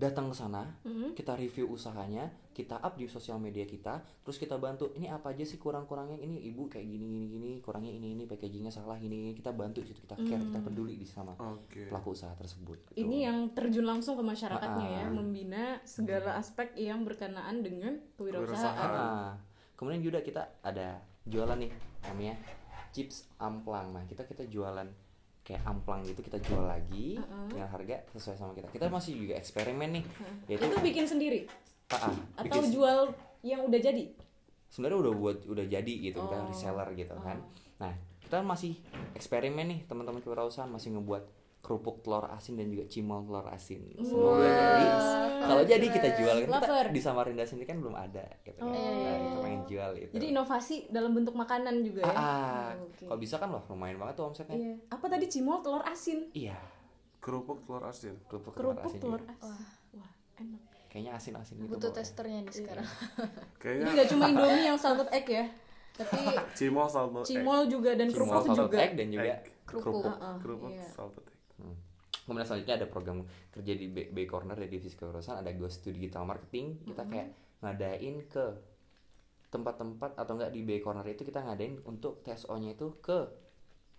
S3: datang ke sana,
S2: Mm-hmm.
S3: kita review usahanya, kita up di sosial media kita, terus kita bantu ini apa aja sih kurang-kurangnya ini ibu kayak gini gini gini kurangnya ini ini packagingnya salah ini, ini. kita bantu di situ kita care kita peduli di sama
S1: Oke.
S3: pelaku usaha tersebut. gitu.
S2: Mm-hmm. ini yang terjun langsung ke masyarakatnya
S3: Ah,
S2: ya membina segala
S3: Hmm.
S2: aspek yang berkenaan dengan kewirausahaan
S3: Ah, kemudian juga kita ada jualan nih namanya chips amplang. Nah, kita kita jualan kayak amplang gitu kita jual lagi dengan harga sesuai sama kita. Kita masih juga eksperimen nih. Yaitu
S2: itu bikin sendiri
S3: ah, ah,
S2: atau
S3: gitu. bikin
S2: jual yang udah jadi
S3: sebenarnya udah buat udah jadi gitu kita
S2: Oh.
S3: reseller gitu kan nah kita masih eksperimen nih teman-teman kewirausahaan masih ngebuat kerupuk telur asin dan juga cimol telur asin semoga jadi kalau jadi kita jual kan kita
S2: Lover. Oh, iya,
S3: di Samarinda sendiri kan belum ada gitu kan nah, kita pengen jual itu
S2: jadi inovasi dalam bentuk makanan juga ya
S3: Gitu. ah,
S2: Oh, oke.
S3: kalau bisa kan wah lumayan banget tuh omsetnya
S2: Iya. apa tadi cimol telur asin
S3: iya
S1: Kerupuk telur asin.
S3: kerupuk,
S2: kerupuk
S3: telur
S2: telur
S3: asin
S2: asin wah
S3: iya. juga.
S2: enak
S3: kayaknya asin asin gitu
S4: butuh Iya.
S3: baunya.
S4: testernya nih sekarang
S2: Jadi
S1: Kayaknya
S2: gak cuma Indomie yang salted egg ya, tapi
S1: cimol salted egg.
S2: cimol juga dan
S3: Cimol
S2: kerupuk
S3: salted
S2: juga. Ah,
S3: egg dan juga
S1: Egg.
S3: kerupuk
S1: Kerupuk
S2: Iya.
S1: salted egg.
S3: Kemudian selanjutnya ada program kerja di B, B Corner dari divisi kewirausahaan ada Ghost to Digital Marketing. Kita
S2: Mm-hmm.
S3: kayak ngadain ke tempat-tempat atau enggak di B Corner itu kita ngadain untuk TSO-nya itu ke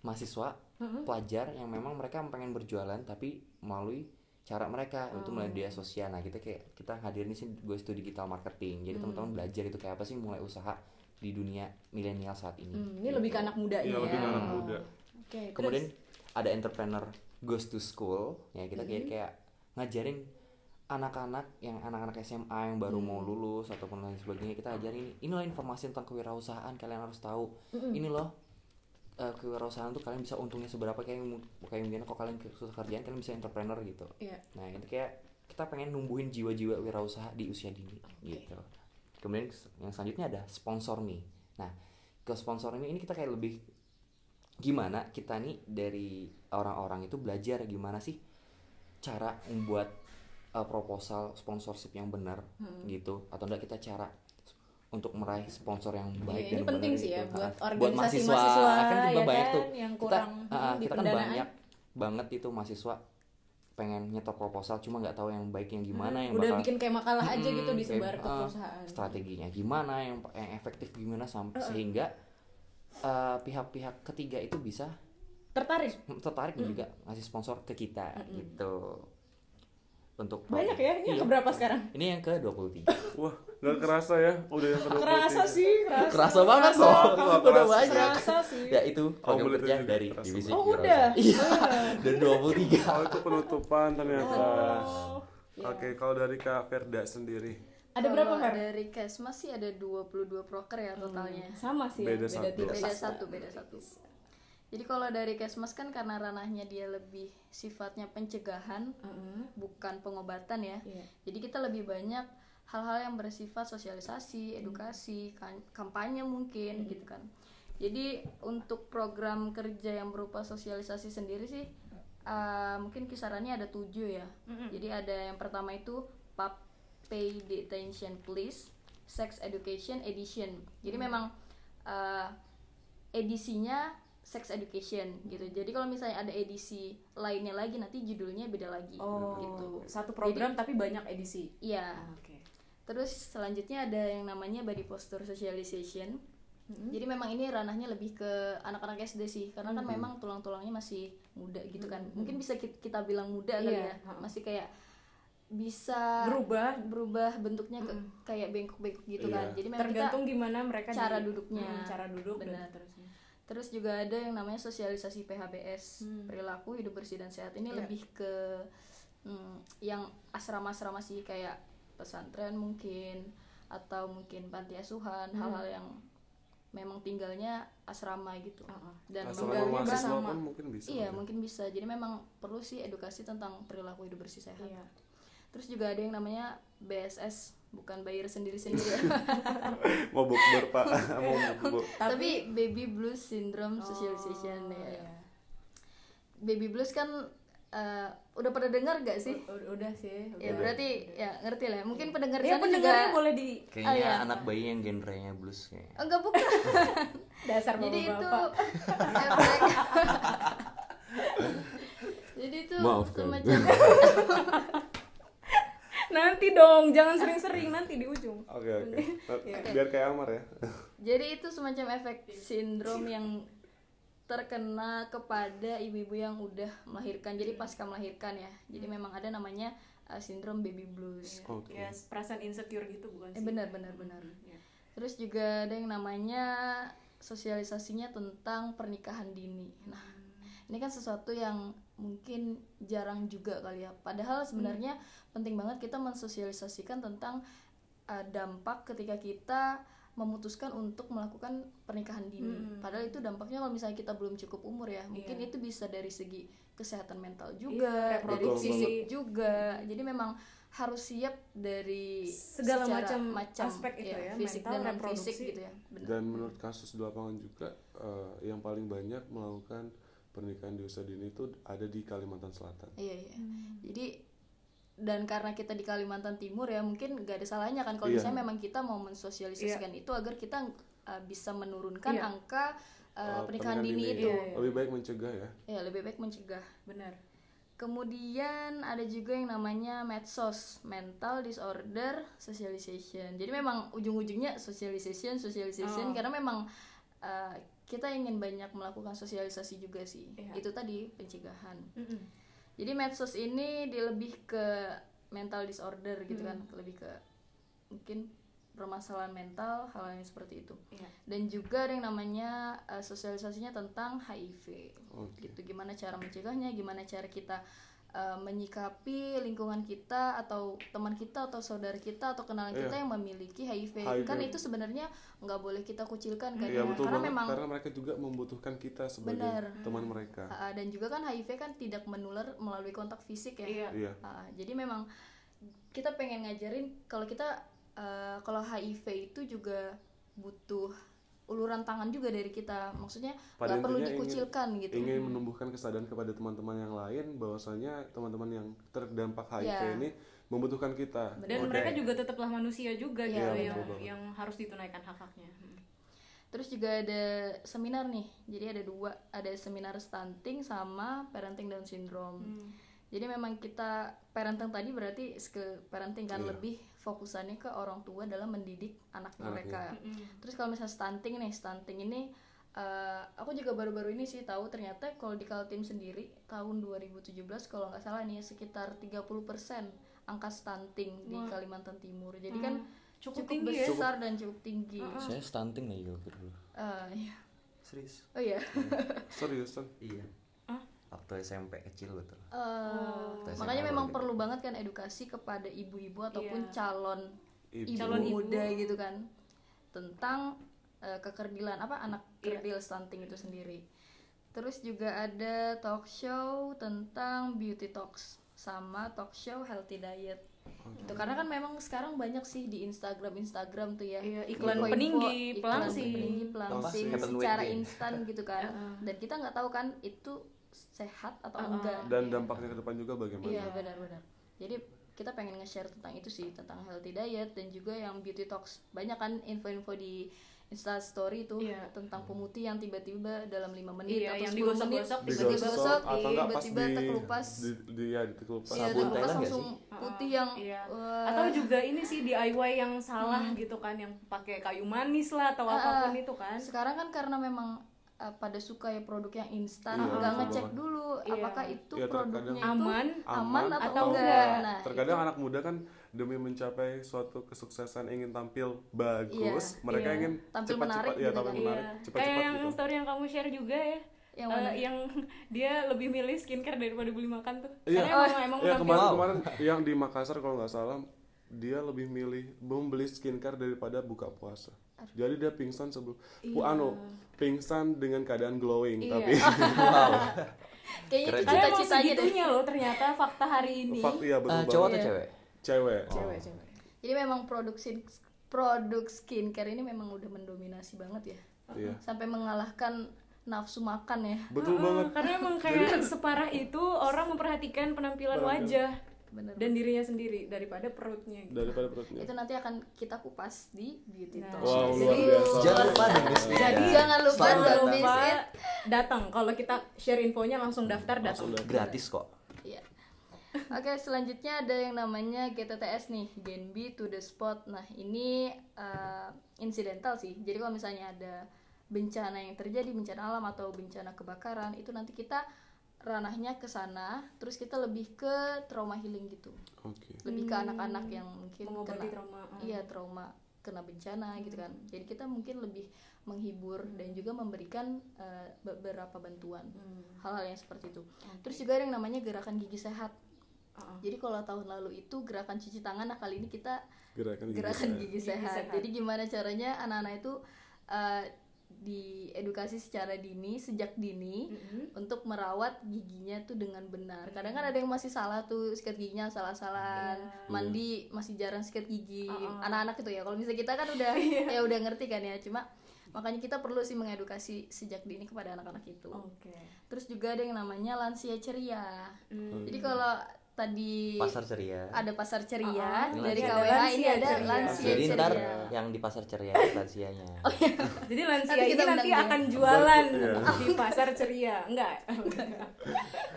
S3: mahasiswa,
S2: Mm-hmm.
S3: pelajar yang memang mereka pengen berjualan tapi melalui cara mereka
S2: Mm-hmm.
S3: untuk melalui media sosial. Nah, kita kayak kita hadirin di sini Ghost to Digital Marketing.
S2: Mm-hmm.
S3: Jadi teman-teman belajar itu kayak apa sih mulai usaha di dunia milenial saat ini.
S2: Hmm, ini lebih ke anak muda
S1: Iya,
S2: ya.
S1: lebih ke anak muda.
S2: Oke,
S3: Kemudian ada entrepreneur goes to school, ya kita kayak
S2: Mm-hmm.
S3: kayak ngajarin anak-anak yang anak-anak SMA yang baru mau
S2: Mm.
S3: lulus ataupun lain sebagainya kita ajarin ini loh informasi tentang kewirausahaan kalian harus tahu ini loh eh, kewirausahaan tuh kalian bisa untungnya seberapa kayak mu- kayak mungkin kalau kalian ke- susah kerjaan kalian bisa entrepreneur gitu
S2: Iya.
S3: nah itu kayak kita pengen numbuhin jiwa-jiwa wirausaha di usia dini gitu kemudian yang selanjutnya ada sponsor me nah ke sponsor me ini kita kayak lebih gimana kita nih dari orang-orang itu belajar gimana sih cara membuat uh, proposal sponsorship yang benar
S2: Hmm.
S3: gitu atau enggak kita cara s- untuk meraih sponsor yang
S2: Iya,
S3: baik
S2: ini
S3: dan
S2: penting
S3: benar
S2: sih ya
S3: gitu.
S2: buat
S3: Ah,
S2: organisasi mahasiswa,
S3: kan juga
S2: ya
S3: banyak
S2: kan,
S3: tuh
S2: yang
S3: kita
S2: kurang,
S3: ah, ah,
S2: hmm, di
S3: kita kan
S2: pendanaan.
S3: banyak banget itu mahasiswa pengen nyetor proposal cuma nggak tahu yang baik yang gimana
S2: Hmm,
S3: yang
S2: udah
S3: bakal
S2: bikin kayak makalah aja
S3: Mm-mm,
S2: gitu disebar
S3: kayak,
S2: ke
S3: ah,
S2: perusahaan.
S3: strateginya gimana yang, yang efektif gimana sampai sehingga eh, pihak-pihak ketiga itu bisa
S2: Tertarik?
S3: tertarik
S2: Hmm.
S3: dan juga ngasih sponsor ke kita gitu untuk
S2: Banyak ya? Ini yang
S3: Iya.
S2: keberapa sekarang?
S3: ini yang ke 23
S1: Wah, nggak kerasa ya, udah yang kedua.
S2: Kerasa sih, kerasa.
S3: kerasa banget
S2: Kerasa,
S3: kok
S1: kamu
S3: udah
S1: kerasa.
S3: banyak
S2: Kerasa sih.
S3: ya itu program
S1: Oh, boleh
S3: kerja
S1: tunjukin
S3: dari
S1: kerasa
S3: divisi
S2: banget. Oh,
S3: Wira
S2: udah. iya.
S3: Usaha. iya dan 23
S1: Oh, itu penutupan ternyata.
S2: Oh.
S1: Oke, kalau dari Kak Ferda sendiri,
S2: Ada berapa, Fer?
S4: Kalau dari Kesmas sih ada 22 proker ya totalnya
S2: Sama sih ya,
S1: Beda satu.
S2: tiga.
S4: beda satu beda satu jadi kalau dari Kesmas kan karena ranahnya dia lebih sifatnya pencegahan
S2: Heeh.
S4: bukan pengobatan ya
S2: Hmm. Iya.
S4: jadi kita lebih banyak hal-hal yang bersifat sosialisasi, edukasi, kan- kampanye mungkin gitu kan. Jadi untuk program kerja yang berupa sosialisasi sendiri sih eh, mungkin kisarannya ada tujuh ya. Jadi ada yang pertama itu PAP Pay Detention Please Sex Education Edition. Jadi memang eh, edisinya sex education gitu. Jadi kalau misalnya ada edisi lainnya lagi nanti judulnya beda lagi gitu.
S2: Oh, satu program tapi banyak edisi.
S4: Iya.
S2: Ah, Oke.
S4: Terus selanjutnya ada yang namanya body posture socialization.
S2: Hmm?
S4: Jadi memang ini ranahnya lebih ke anak-anak SD sih, karena
S2: Hmm.
S4: kan memang tulang-tulangnya masih muda gitu kan. Mungkin bisa ki- kita bilang muda kali
S2: Iya,
S4: ya, masih kayak bisa
S2: Berubah Hmm.
S4: berubah bentuknya ke, kayak bengkok-bengkok gitu kan.
S1: Iya.
S4: Jadi memang kita-
S2: tergantung gimana mereka
S4: cara
S2: di-
S4: duduknya.
S2: Hmm, cara duduk
S4: Benar.
S2: dan seterusnya.
S4: Terus juga ada yang namanya sosialisasi PHBS perilaku hidup bersih dan sehat ini lebih ke mm, yang asrama-asrama sih kayak pesantren mungkin atau mungkin panti asuhan hal-hal yang memang tinggalnya asrama gitu
S2: Heeh.
S4: dan
S1: Asrama
S4: menggali
S1: mahasiswa
S4: bersama.
S1: pun mungkin bisa.
S4: iya
S1: kan?
S4: mungkin bisa jadi memang perlu sih edukasi tentang perilaku hidup bersih sehat
S2: Iya.
S4: terus juga ada yang namanya BSS bukan bayar sendiri-sendiri
S1: Mau bukber pak, mau bukber.
S4: tapi baby blues
S2: Oh.
S4: syndrome socialization ya
S2: Iya.
S4: baby blues kan eh, udah pada dengar gak sih?
S2: U- Udah sih.
S4: Ya
S2: udah.
S4: berarti ya ngerti lah. Mungkin pendengar
S2: Ya
S4: sana
S2: pendengarnya
S4: juga
S2: boleh di
S3: Kayaknya
S4: iya.
S3: anak bayi yang genrenya blues kayaknya.
S2: Oh.
S4: enggak bukan.
S2: dasar
S4: Jadi itu
S2: bapak-bapak.
S4: ya, mereka- Jadi itu
S1: Maafkan.
S4: semacam
S2: Nanti dong, jangan sering-sering nanti di ujung.
S1: Oke oke.
S4: Iya.
S1: Biar kayak Amar ya.
S4: Jadi itu semacam efek sindrom yang terkena kepada ibu-ibu yang udah melahirkan. Jadi pasca melahirkan ya. Jadi
S2: Hmm.
S4: memang ada namanya eh, sindrom baby blues.
S1: Oke.
S2: Ya, perasaan insecure gitu bukan
S4: Eh,
S2: sih?
S4: benar benar benar.
S2: Iya.
S4: Terus juga ada yang namanya sosialisasinya tentang pernikahan dini. Nah, ini kan sesuatu yang mungkin jarang juga kali ya.
S2: Hmm.
S4: Padahal sebenarnya penting banget kita mensosialisasikan tentang uh, dampak ketika kita memutuskan untuk melakukan pernikahan dini.
S2: Hmm.
S4: Padahal itu dampaknya kalau misalnya kita belum cukup umur ya, mungkin itu bisa dari segi kesehatan mental
S2: Iya,
S4: juga,
S2: Hmm.
S4: dari
S2: reproduksi.
S4: fisik juga. Jadi memang harus siap dari
S2: Segala
S4: secara iya,
S2: macam aspek itu ya,
S4: fisik
S2: mental,
S4: dan non
S2: reproduksi.
S4: fisik gitu ya. Benar.
S1: Dan menurut kasus di lapangan juga eh, yang paling banyak melakukan pernikahan di usia dini itu ada di Kalimantan Selatan. Eh,
S4: Iya iya.
S2: Hmm.
S4: Jadi dan karena kita di Kalimantan Timur ya mungkin gak ada salahnya kan kalau
S1: Iya.
S4: misalnya memang kita mau mensosialisasikan itu agar kita uh, bisa menurunkan
S2: Iya.
S4: angka
S1: Eh,
S4: uh, pernikahan dini itu.
S2: Iya, iya.
S1: lebih baik mencegah ya.
S4: Ya lebih baik mencegah.
S2: Benar.
S4: Kemudian ada juga yang namanya medsos, mental disorder socialization. Jadi memang ujung-ujungnya socialization,
S2: Oh.
S4: socialization karena memang uh, kita ingin banyak melakukan sosialisasi juga sih.
S2: Iya.
S4: Itu tadi pencegahan.
S2: Mm-mm.
S4: Jadi medsos ini di lebih ke mental disorder gitu kan,
S1: Hmm.
S4: lebih ke mungkin permasalahan mental hal yang seperti itu.
S2: Iya.
S4: Dan juga ada yang namanya eh, sosialisasinya tentang HIV.
S1: Oke.
S4: Gitu gimana cara mencegahnya, gimana cara kita eh, menyikapi lingkungan kita atau teman kita atau saudara kita atau kenalan kita
S1: Iya.
S4: yang memiliki HIV.
S1: HIV.
S4: Kan itu sebenarnya nggak boleh kita kucilkan kan.
S1: Iya
S4: ya.
S1: betul
S4: Karena
S1: banget
S4: memang
S1: karena mereka juga membutuhkan kita sebagai
S4: Benar.
S1: teman mereka.
S4: Ah, ah, dan juga kan HIV kan tidak menular melalui kontak fisik ya.
S2: Iya.
S1: Iya.
S4: Ah, jadi memang kita pengen ngajarin kalau kita eh, kalau HIV itu juga butuh uluran tangan juga dari kita. Maksudnya
S1: Pada
S4: nggak perlu
S1: intinya ingin-
S4: dikucilkan gitu.
S1: ingin menumbuhkan kesadaran kepada teman-teman yang lain bahwasanya teman-teman yang terdampak HIV
S4: Ya.
S1: ini membutuhkan kita.
S2: Dan
S1: Oke.
S2: mereka juga tetaplah manusia juga
S4: Iya,
S2: gitu
S1: betul
S2: yang
S1: banget.
S2: yang harus ditunaikan hak-haknya. Hmm.
S4: Terus juga ada seminar nih. Jadi ada dua, ada seminar stunting sama parenting Down syndrome.
S2: Hmm.
S4: Jadi memang kita parenting tadi berarti skill parenting kan
S1: Iya.
S4: lebih fokusannya ke orang tua dalam mendidik anak mereka.
S2: Hmm.
S4: Terus kalau misalnya stunting nih, stunting ini eh, aku juga baru-baru ini sih tahu ternyata kalau di Kaltim sendiri tahun 2017 kalau nggak salah nih sekitar 30% angka stunting di Kalimantan Timur. Jadi kan
S2: Hmm. Cukup tinggi ya. Hmm,
S4: besar dan cukup tinggi.
S3: Saya stunting lagi waktu dulu.
S4: Eh, iya.
S3: Serius?
S4: Oh iya.
S1: Seriusan.
S3: Iya. Waktu SMP kecil betul.
S4: Eh, makanya memang perlu banget kan edukasi kepada ibu-ibu ataupun
S2: Iya.
S4: calon
S1: Ibu.
S4: ibu,
S2: Calon ibu.
S4: muda gitu kan tentang eh, kekerdilan apa anak
S2: Iya.
S4: kerdil stunting itu sendiri. Terus juga ada talk show tentang beauty talks sama talk show healthy diet. Gitu. Karena kan memang sekarang banyak sih di Instagram Instagram tuh ya.
S2: Iya, iklan
S4: Info-info,
S2: peninggi,
S4: iklan
S2: pelangsing.
S4: peninggi, pelangsing
S3: Pelangsing.
S4: secara
S3: Heaven
S4: instan gitu kan. Dan kita nggak tahu kan itu sehat
S2: Ah,
S4: atau enggak.
S1: dan dampaknya ke depan juga bagaimana
S4: Iya benar-benar. Jadi kita pengen nge-share tentang itu sih tentang healthy diet dan juga yang beauty talks. Banyak kan info-info di Insta story itu
S2: Iya.
S4: tentang pemutih yang tiba-tiba dalam 5 menit
S2: Iya,
S4: atau
S2: yang
S4: 10 menit
S2: digosok-gosok,
S4: tiba-tiba
S2: digosok,
S4: gosok,
S1: atau enggak pas
S4: tiba-tiba
S1: di,
S4: terkelupas.
S1: di, di, ya, dikelupas.
S4: Iya,
S3: Sabun
S4: terkelupas
S3: Thailand nggak
S4: langsung putih yang
S2: Iya.
S4: wah.
S2: atau juga ini sih DIY yang salah gitu kan yang pakai kayu manis lah
S4: Ah,
S2: atau apapun itu kan
S4: sekarang kan karena memang eh, pada suka ya produk yang instan,
S1: Iya,
S4: nggak
S1: betul
S4: ngecek
S1: banget.
S4: dulu
S2: Iya.
S4: apakah itu
S1: Iya, terkadang
S4: produknya itu
S2: aman,
S4: aman atau, enggak. Nah,
S1: terkadang anak muda kan demi mencapai suatu kesuksesan ingin tampil bagus
S4: Iya,
S1: mereka
S2: iya.
S1: ingin
S4: Tampil
S1: cepat-cepat
S4: menarik
S1: ya
S4: gitu
S1: tampil
S4: kan.
S1: menarik
S2: Iya.
S1: cepat-cepat
S2: kayak yang
S1: gitu
S2: story yang kamu share juga ya
S4: Yang
S2: Eh,
S4: mana?
S2: yang dia lebih milih skincare daripada beli makan tuh
S1: Iya.
S2: karena emang emang
S1: Iya,
S2: menampil-
S1: kemarin kemarin yang di Makassar kalau nggak salah dia lebih milih membeli skincare daripada buka puasa jadi dia pingsan sebelum Bu
S4: Iya.
S1: anu pingsan dengan keadaan glowing
S2: Iya.
S1: tapi
S3: wow
S4: kayaknya
S3: Keren.
S4: itu
S2: karena emang
S4: cita-citanya deh.
S2: segitunya loh ternyata fakta hari ini
S1: fak iya betul
S3: Eh,
S1: banget
S3: cowok atau cewek
S1: cewek
S2: cewek cewek
S4: Jadi memang produk skin- produk skincare ini memang udah mendominasi banget ya.
S1: iya
S4: Sampai mengalahkan nafsu makan ya.
S1: betul banget
S2: karena emang kayak separah itu orang memperhatikan kan penampilan wajah
S4: Bener.
S2: dan dirinya sendiri daripada perutnya gitu.
S1: daripada perutnya
S4: Itu nanti akan kita kupas di beauty
S2: Nah.
S4: talk.
S1: wow
S4: Jadi-
S1: luar biasa
S3: jangan lupa dong
S4: Jadi jangan lupa
S2: Iya.
S4: ya.
S2: Jangan
S4: don't
S2: lupa
S4: miss it.
S2: datang kalau kita share infonya langsung daftar datang
S3: gratis kok
S4: Iya. Oke, selanjutnya ada yang namanya GTTS nih, Gen B to the spot. Nah, ini eh, insidental sih. Jadi kalau misalnya ada bencana yang terjadi, bencana alam atau bencana kebakaran, itu nanti kita ranahnya ke sana, terus kita lebih ke trauma healing gitu.
S1: oke
S4: Lebih ke anak-anak yang mungkin
S2: Hmm. mengobati
S4: kena
S2: trauma Hmm. ah.
S4: iya trauma kena bencana gitu kan. Jadi kita mungkin lebih menghibur dan juga memberikan eh, beberapa bantuan
S2: Hmm.
S4: hal-hal yang seperti itu. Terus ya. juga ada yang namanya gerakan gigi sehat.
S2: Ah, ah.
S4: Jadi kalau tahun lalu itu gerakan cuci tangan, nah kali ini kita
S1: gerakan gigi
S4: gerakan
S1: saya.
S4: gigi,
S2: Gigi
S4: sehat.
S2: sehat.
S4: Jadi gimana caranya anak-anak itu eh, diedukasi secara dini, sejak dini
S2: Mhm.
S4: untuk merawat giginya tuh dengan benar. Kadang kan ada yang masih salah tuh sikat giginya salah-salahan,
S2: Iya.
S4: mandi masih jarang sikat gigi. Anak-anak itu ya. Kalau misalnya kita kan udah
S2: Iya.
S4: ya udah ngerti kan ya, cuma makanya kita perlu sih mengedukasi sejak dini kepada anak-anak itu.
S2: Oke.
S4: Terus juga ada yang namanya lansia ceria.
S2: Hmm.
S4: Jadi kalau tadi
S2: Iya.
S3: pasar ceria
S4: ada pasar ceria,
S3: Ah,
S4: dari
S3: ini
S2: ada
S4: KWA ini
S2: lansia
S4: ada
S2: ceria.
S4: lansia
S3: jadi
S4: ceria.
S3: ntar yang di pasar ceria lansianya
S2: Jadi lansia
S4: Nanti kita
S2: ini nanti
S4: undang dia.
S2: akan jualan di pasar ceria, enggak?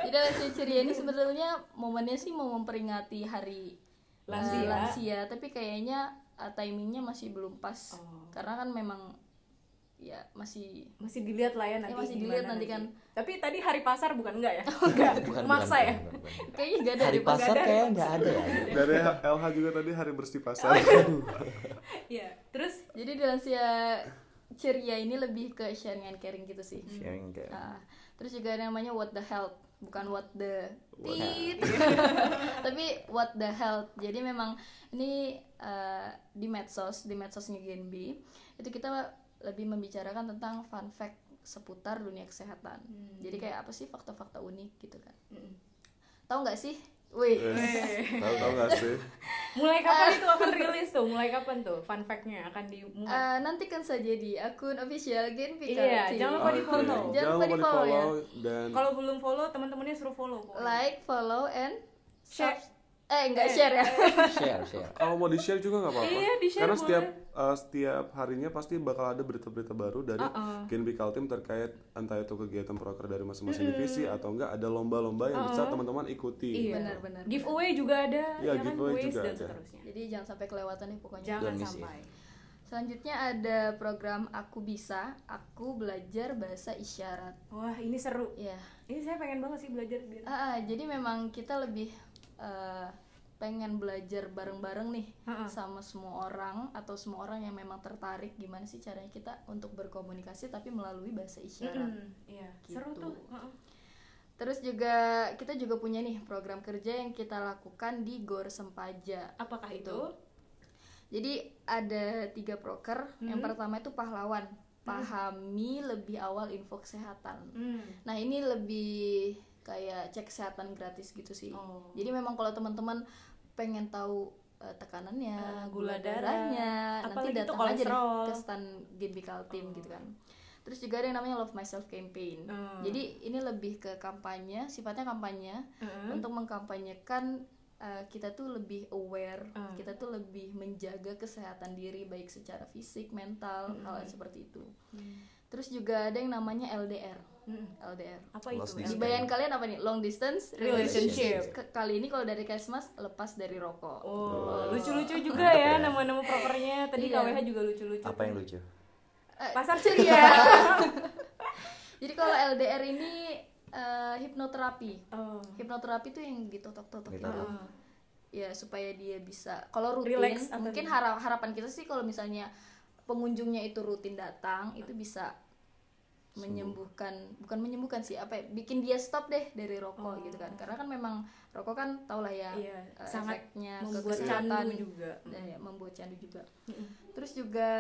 S4: Jadi lansia ceria ini sebenarnya momennya sih mau memperingati hari eh,
S2: Lansia.
S4: lansia, tapi kayaknya eh, timingnya masih belum pas. Karena kan memang ya masih
S2: Masih dilihat lah ya nanti.
S4: Ya, masih
S2: gimana
S4: dilihat nanti kan. Oh,
S2: Tapi tadi hari pasar bukan enggak ya? Enggak. Maksa ya.
S3: bukan, bukan.
S4: kayaknya gak ada
S3: hari
S4: deh, Pak.
S3: pasar kayak nggak ada ya
S1: dari LH juga tadi hari bersih
S4: Oh,
S1: pasar
S2: Iya. Terus
S4: Jadi di lansia ceria ini lebih ke sharing and caring gitu sih.
S3: sharing kayak
S2: Ah.
S4: Nah, terus juga ada namanya what the health, bukan what the
S3: What
S4: tit. Tapi what the health. Jadi memang ini eh, di medsos, di medsosnya Genb itu kita lebih membicarakan tentang fun fact seputar dunia kesehatan.
S2: Hmm.
S4: Jadi kayak apa sih fakta-fakta unik gitu kan. Tahu nggak sih? Wih.
S1: tahu tahu nggak sih
S2: mulai kapan itu akan rilis tuh? Mulai kapan tuh? Fun fact-nya akan dimulai.
S4: Eh, nantikan saja di akun official Genbi
S2: Iya,
S4: Kalti.
S2: jangan lupa
S1: Oke.
S2: di-follow.
S4: Jangan lupa di follow ya.
S1: dan
S2: Kalau belum follow, teman-temannya suruh follow. pokoknya.
S4: Like, follow, and
S2: Share.
S4: subs- Eh, nggak share ya.
S3: share share
S1: kalau mau di share juga nggak apa-apa
S2: Iya, di-share
S1: karena
S2: boleh.
S1: setiap eh, setiap harinya pasti bakal ada berita-berita baru dari
S2: Uh-uh.
S1: Genbi Kaltim terkait entah itu kegiatan proker dari masing-masing divisi atau enggak ada lomba-lomba yang bisa teman-teman ikuti
S2: Uh-uh. Iya.
S4: Benar-benar.
S2: Giveaway juga ada,
S1: Iya,
S2: ya kan?
S1: giveaway
S2: Quiz
S1: juga
S2: dan
S1: ada.
S2: seterusnya.
S4: Jadi jangan sampai kelewatan nih pokoknya.
S2: Jangan
S3: Don't miss
S2: sampai.
S4: Selanjutnya ada program Aku Bisa, Aku Belajar Bahasa Isyarat.
S2: Wah, ini seru.
S4: Ya.
S2: Ini saya pengen banget sih belajar biar
S4: Ah, ah, jadi memang kita lebih eh, pengen belajar bareng-bareng nih sama semua orang atau semua orang yang memang tertarik gimana sih caranya kita untuk berkomunikasi tapi melalui bahasa isyarat.
S2: Mm, Iya, seru
S4: Gitu.
S2: tuh. Heeh.
S4: Terus juga kita juga punya nih program kerja yang kita lakukan di Gor Sempaja.
S2: Apakah itu?
S4: Jadi ada tiga proker. Yang
S2: Hmm.
S4: pertama itu pahlawan, pahami lebih awal info kesehatan.
S2: Hmm.
S4: Nah ini lebih kayak cek kesehatan gratis gitu sih.
S2: Oh.
S4: Jadi memang kalau teman-teman pengen tahu eh,
S2: Eh,
S4: tekanannya,
S2: gula
S4: gula darahnya,
S2: darah,
S4: nanti
S2: apalagi itu
S4: datang aja deh
S2: kolesterol. Oh.
S4: ke stand Genbi Kaltim gitu kan. Terus juga ada yang namanya Love Myself Campaign.
S2: Hmm.
S4: Jadi ini lebih ke kampanye, sifatnya kampanye untuk mengkampanyekan eh, kita tuh lebih aware,
S2: Hmm.
S4: kita tuh lebih menjaga kesehatan diri baik secara fisik, mental,
S2: Hmm.
S4: hal seperti itu. Terus juga ada yang namanya LDR.
S2: Mm-mm.
S4: LDR.
S2: Apa
S3: Lost
S2: itu?
S4: Di
S3: distance.
S2: LDR?
S4: bayan kalian apa nih? Long distance
S2: Relationship.
S4: Ke- Kali ini kalau dari Kesmas lepas dari rokok.
S2: Oh, lucu-lucu juga ya nama-nama propernya. Tadi
S4: Iya.
S2: KWH juga lucu-lucu.
S3: Iya. Apa yang lucu?
S4: Eh,
S2: Pasar ya? ceria.
S4: Jadi kalau LDR ini eh, hipnoterapi.
S2: oh.
S4: Hipnoterapi tuh yang ditotok-totok
S3: Gitu.
S4: itu. Ya, supaya dia bisa kalau rutin
S2: Relax atau
S4: mungkin
S2: gimana?
S4: harap- harapan kita sih kalau misalnya pengunjungnya itu rutin datang itu bisa menyembuhkan bukan menyembuhkan sih apa ya, bikin dia stop deh dari rokok gitu kan karena kan memang rokok kan taulah ya
S2: Oh. Iya,
S4: eh,
S2: sangat
S4: efeknya ke
S2: membuat
S4: kesehatan.
S2: candu juga. Hmm.
S4: dan ya, membuat candu juga. Terus juga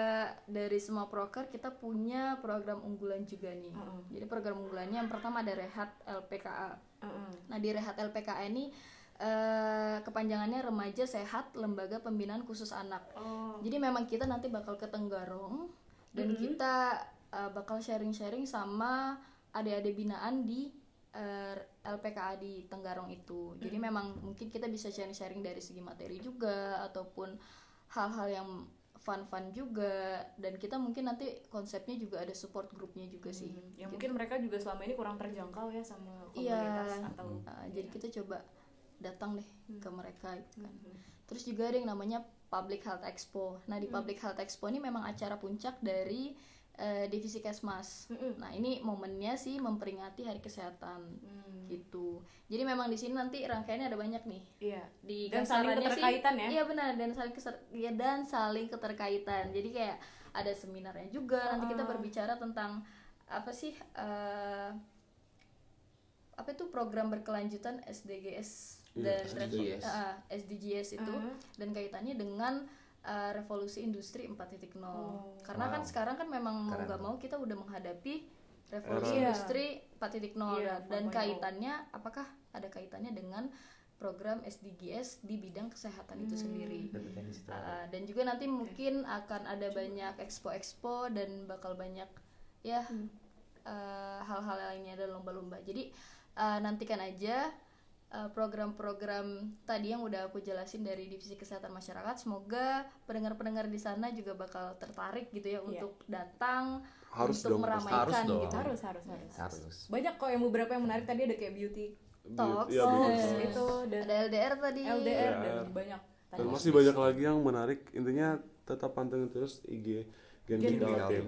S4: dari semua proker kita punya program unggulan juga nih.
S2: Mm-mm.
S4: Jadi program unggulannya yang pertama ada Rehat LPKA.
S2: Heeh.
S4: Nah di Rehat LPKA ini eh, kepanjangannya Remaja Sehat Lembaga Pembinaan Khusus Anak.
S2: Oh.
S4: Jadi memang kita nanti bakal ke Tenggarong dan kita eh, bakal sharing-sharing sama adik-adik binaan di eh, LPKA di Tenggarong itu. Jadi memang mungkin kita bisa sharing-sharing dari segi materi juga ataupun hal-hal yang fun-fun juga dan kita mungkin nanti konsepnya juga ada support grupnya juga sih.
S2: Ya mungkin mereka juga selama ini kurang terjangkau ya sama
S4: Iya.
S2: komunitas atau ya.
S4: Uh, jadi
S2: Iya.
S4: kita coba datang deh ke mereka gitu kan. Terus juga ada yang namanya Public Health Expo. Nah,
S2: Hmm.
S4: di Public Health Expo ini memang acara puncak dari uh, divisi Kesmas.
S2: Mm-mm.
S4: Nah, ini momennya sih memperingati Hari Kesehatan
S2: Hmm.
S4: gitu. Jadi memang di sini nanti rangkaiannya ada banyak nih.
S2: Iya.
S4: Di
S2: Dan saling
S4: kasarannya sih-
S2: keterkaitan ya?
S4: Iya benar dan saling keser, ya, dan saling keterkaitan. Jadi kayak ada seminarnya juga.
S2: Ah.
S4: Nanti kita berbicara tentang apa sih eh, apa itu program berkelanjutan SDGs dan eh,
S3: Iya,
S4: SDGs,
S3: SDGs.
S4: SDGs
S2: Gitu.
S4: itu dan kaitannya dengan eh, revolusi industri 4.0. Karena kan
S3: Wow.
S4: sekarang kan memang mau
S3: Keren.
S4: nggak mau kita udah menghadapi
S2: Era.
S4: revolusi
S2: Iya.
S4: industri 4.0
S2: Iya, 4.0.
S4: dan kaitannya apakah ada kaitannya dengan program SDGs di bidang kesehatan itu sendiri.
S3: Tapi kan di situ
S1: Nah.
S3: ada.
S4: Uh, dan juga nanti mungkin akan ada banyak expo-expo dan bakal banyak ya
S1: Hmm.
S4: uh, hal-hal lainnya dan lomba-lomba. Jadi uh, nantikan aja uh, program-program tadi yang udah aku jelasin dari divisi kesehatan masyarakat. Semoga pendengar-pendengar di sana juga bakal tertarik gitu ya untuk datang
S1: Iya. Harus
S4: untuk
S1: dong, pasti.
S4: meramaikan
S3: Harus dong.
S4: gitu.
S2: Harus harus harus.
S3: Iya, Harus.
S2: Banyak kok yang beberapa yang menarik tadi ada kayak beauty
S4: Talks,
S1: Iya,
S2: Oh,
S1: beauty
S4: terus
S1: talks.
S2: itu dan
S4: ada LDR tadi.
S2: LDR
S1: Iya.
S2: dan banyak tadi.
S1: Dan masih banyak lagi yang menarik. Intinya tetap pantengin terus IG Genbi
S3: Genbi Kaltim.
S1: Kaltim.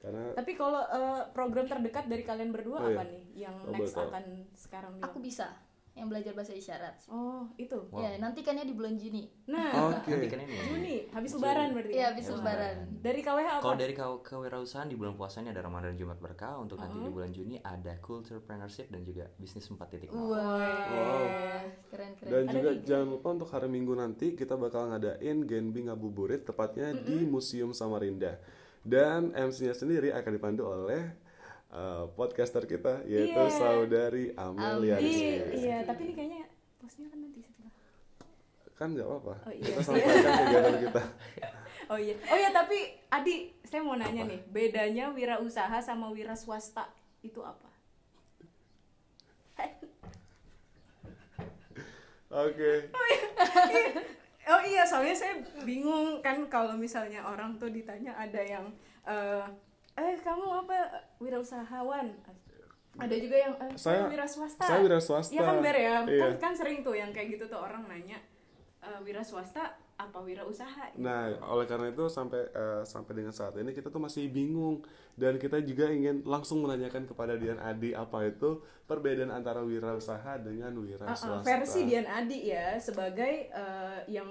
S1: Karena
S2: Tapi kalau eh, program terdekat dari kalian berdua
S1: Oh,
S2: apa
S1: iya.
S2: nih yang
S1: Oh,
S2: next
S1: boleh tahu.
S2: akan sekarang nih?
S4: Aku bisa yang belajar bahasa isyarat.
S2: Oh, itu.
S4: Ya, nantikannya di bulan Juni.
S2: Nah,
S1: Oh, oke.
S3: Nanti kan ini.
S2: Juni habis lebaran berarti. ya?
S4: Iya, habis lebaran.
S2: Dari KWH apa?
S3: Kalau dari kau- kewirausahaan di bulan puasanya ada Ramadan Jumat Berkah, untuk nanti
S2: Uh-huh.
S3: di bulan Juni ada Culturepreneurship dan juga bisnis 4.0.
S4: Wah, keren-keren.
S1: Dan juga jangan lupa untuk hari Minggu nanti kita bakal ngadain Genbi Ngabuburit tepatnya di Museum Samarinda. Dan MC-nya sendiri akan dipandu oleh uh, podcaster kita yaitu
S2: Iya.
S1: saudari Amelia
S4: Amel.
S1: Rizky.
S2: Iya, iya, tapi ini kayaknya posnya kan nanti setelah.
S1: Kan nggak apa-apa.
S2: Oh, iya.
S1: Kita sampaikan kegiatan kita.
S2: Oh iya. Oh iya, tapi Adi, saya mau nanya nih, bedanya wirausaha sama wira swasta itu apa?
S1: Oke.
S2: Iya. Oh iya, soalnya saya bingung kan kalau misalnya orang tuh ditanya ada yang eh eh kamu apa wirausahawan? Ada juga yang eh, saya,
S1: Saya-
S2: wira swasta.
S1: saya wira swasta.
S2: Iya kan Ber ya?
S1: Iya.
S2: Kan, kan sering tuh yang kayak gitu tuh orang nanya eh wira swasta apa wirausaha? Eh,
S1: Nah, oleh karena itu sampai eh, sampai dengan saat ini kita tuh masih bingung dan kita juga ingin langsung menanyakan kepada Dian Adi apa itu perbedaan antara wirausaha dengan wira
S2: Uh-uh,
S1: swasta.
S2: versi Dian Adi ya sebagai eh, yang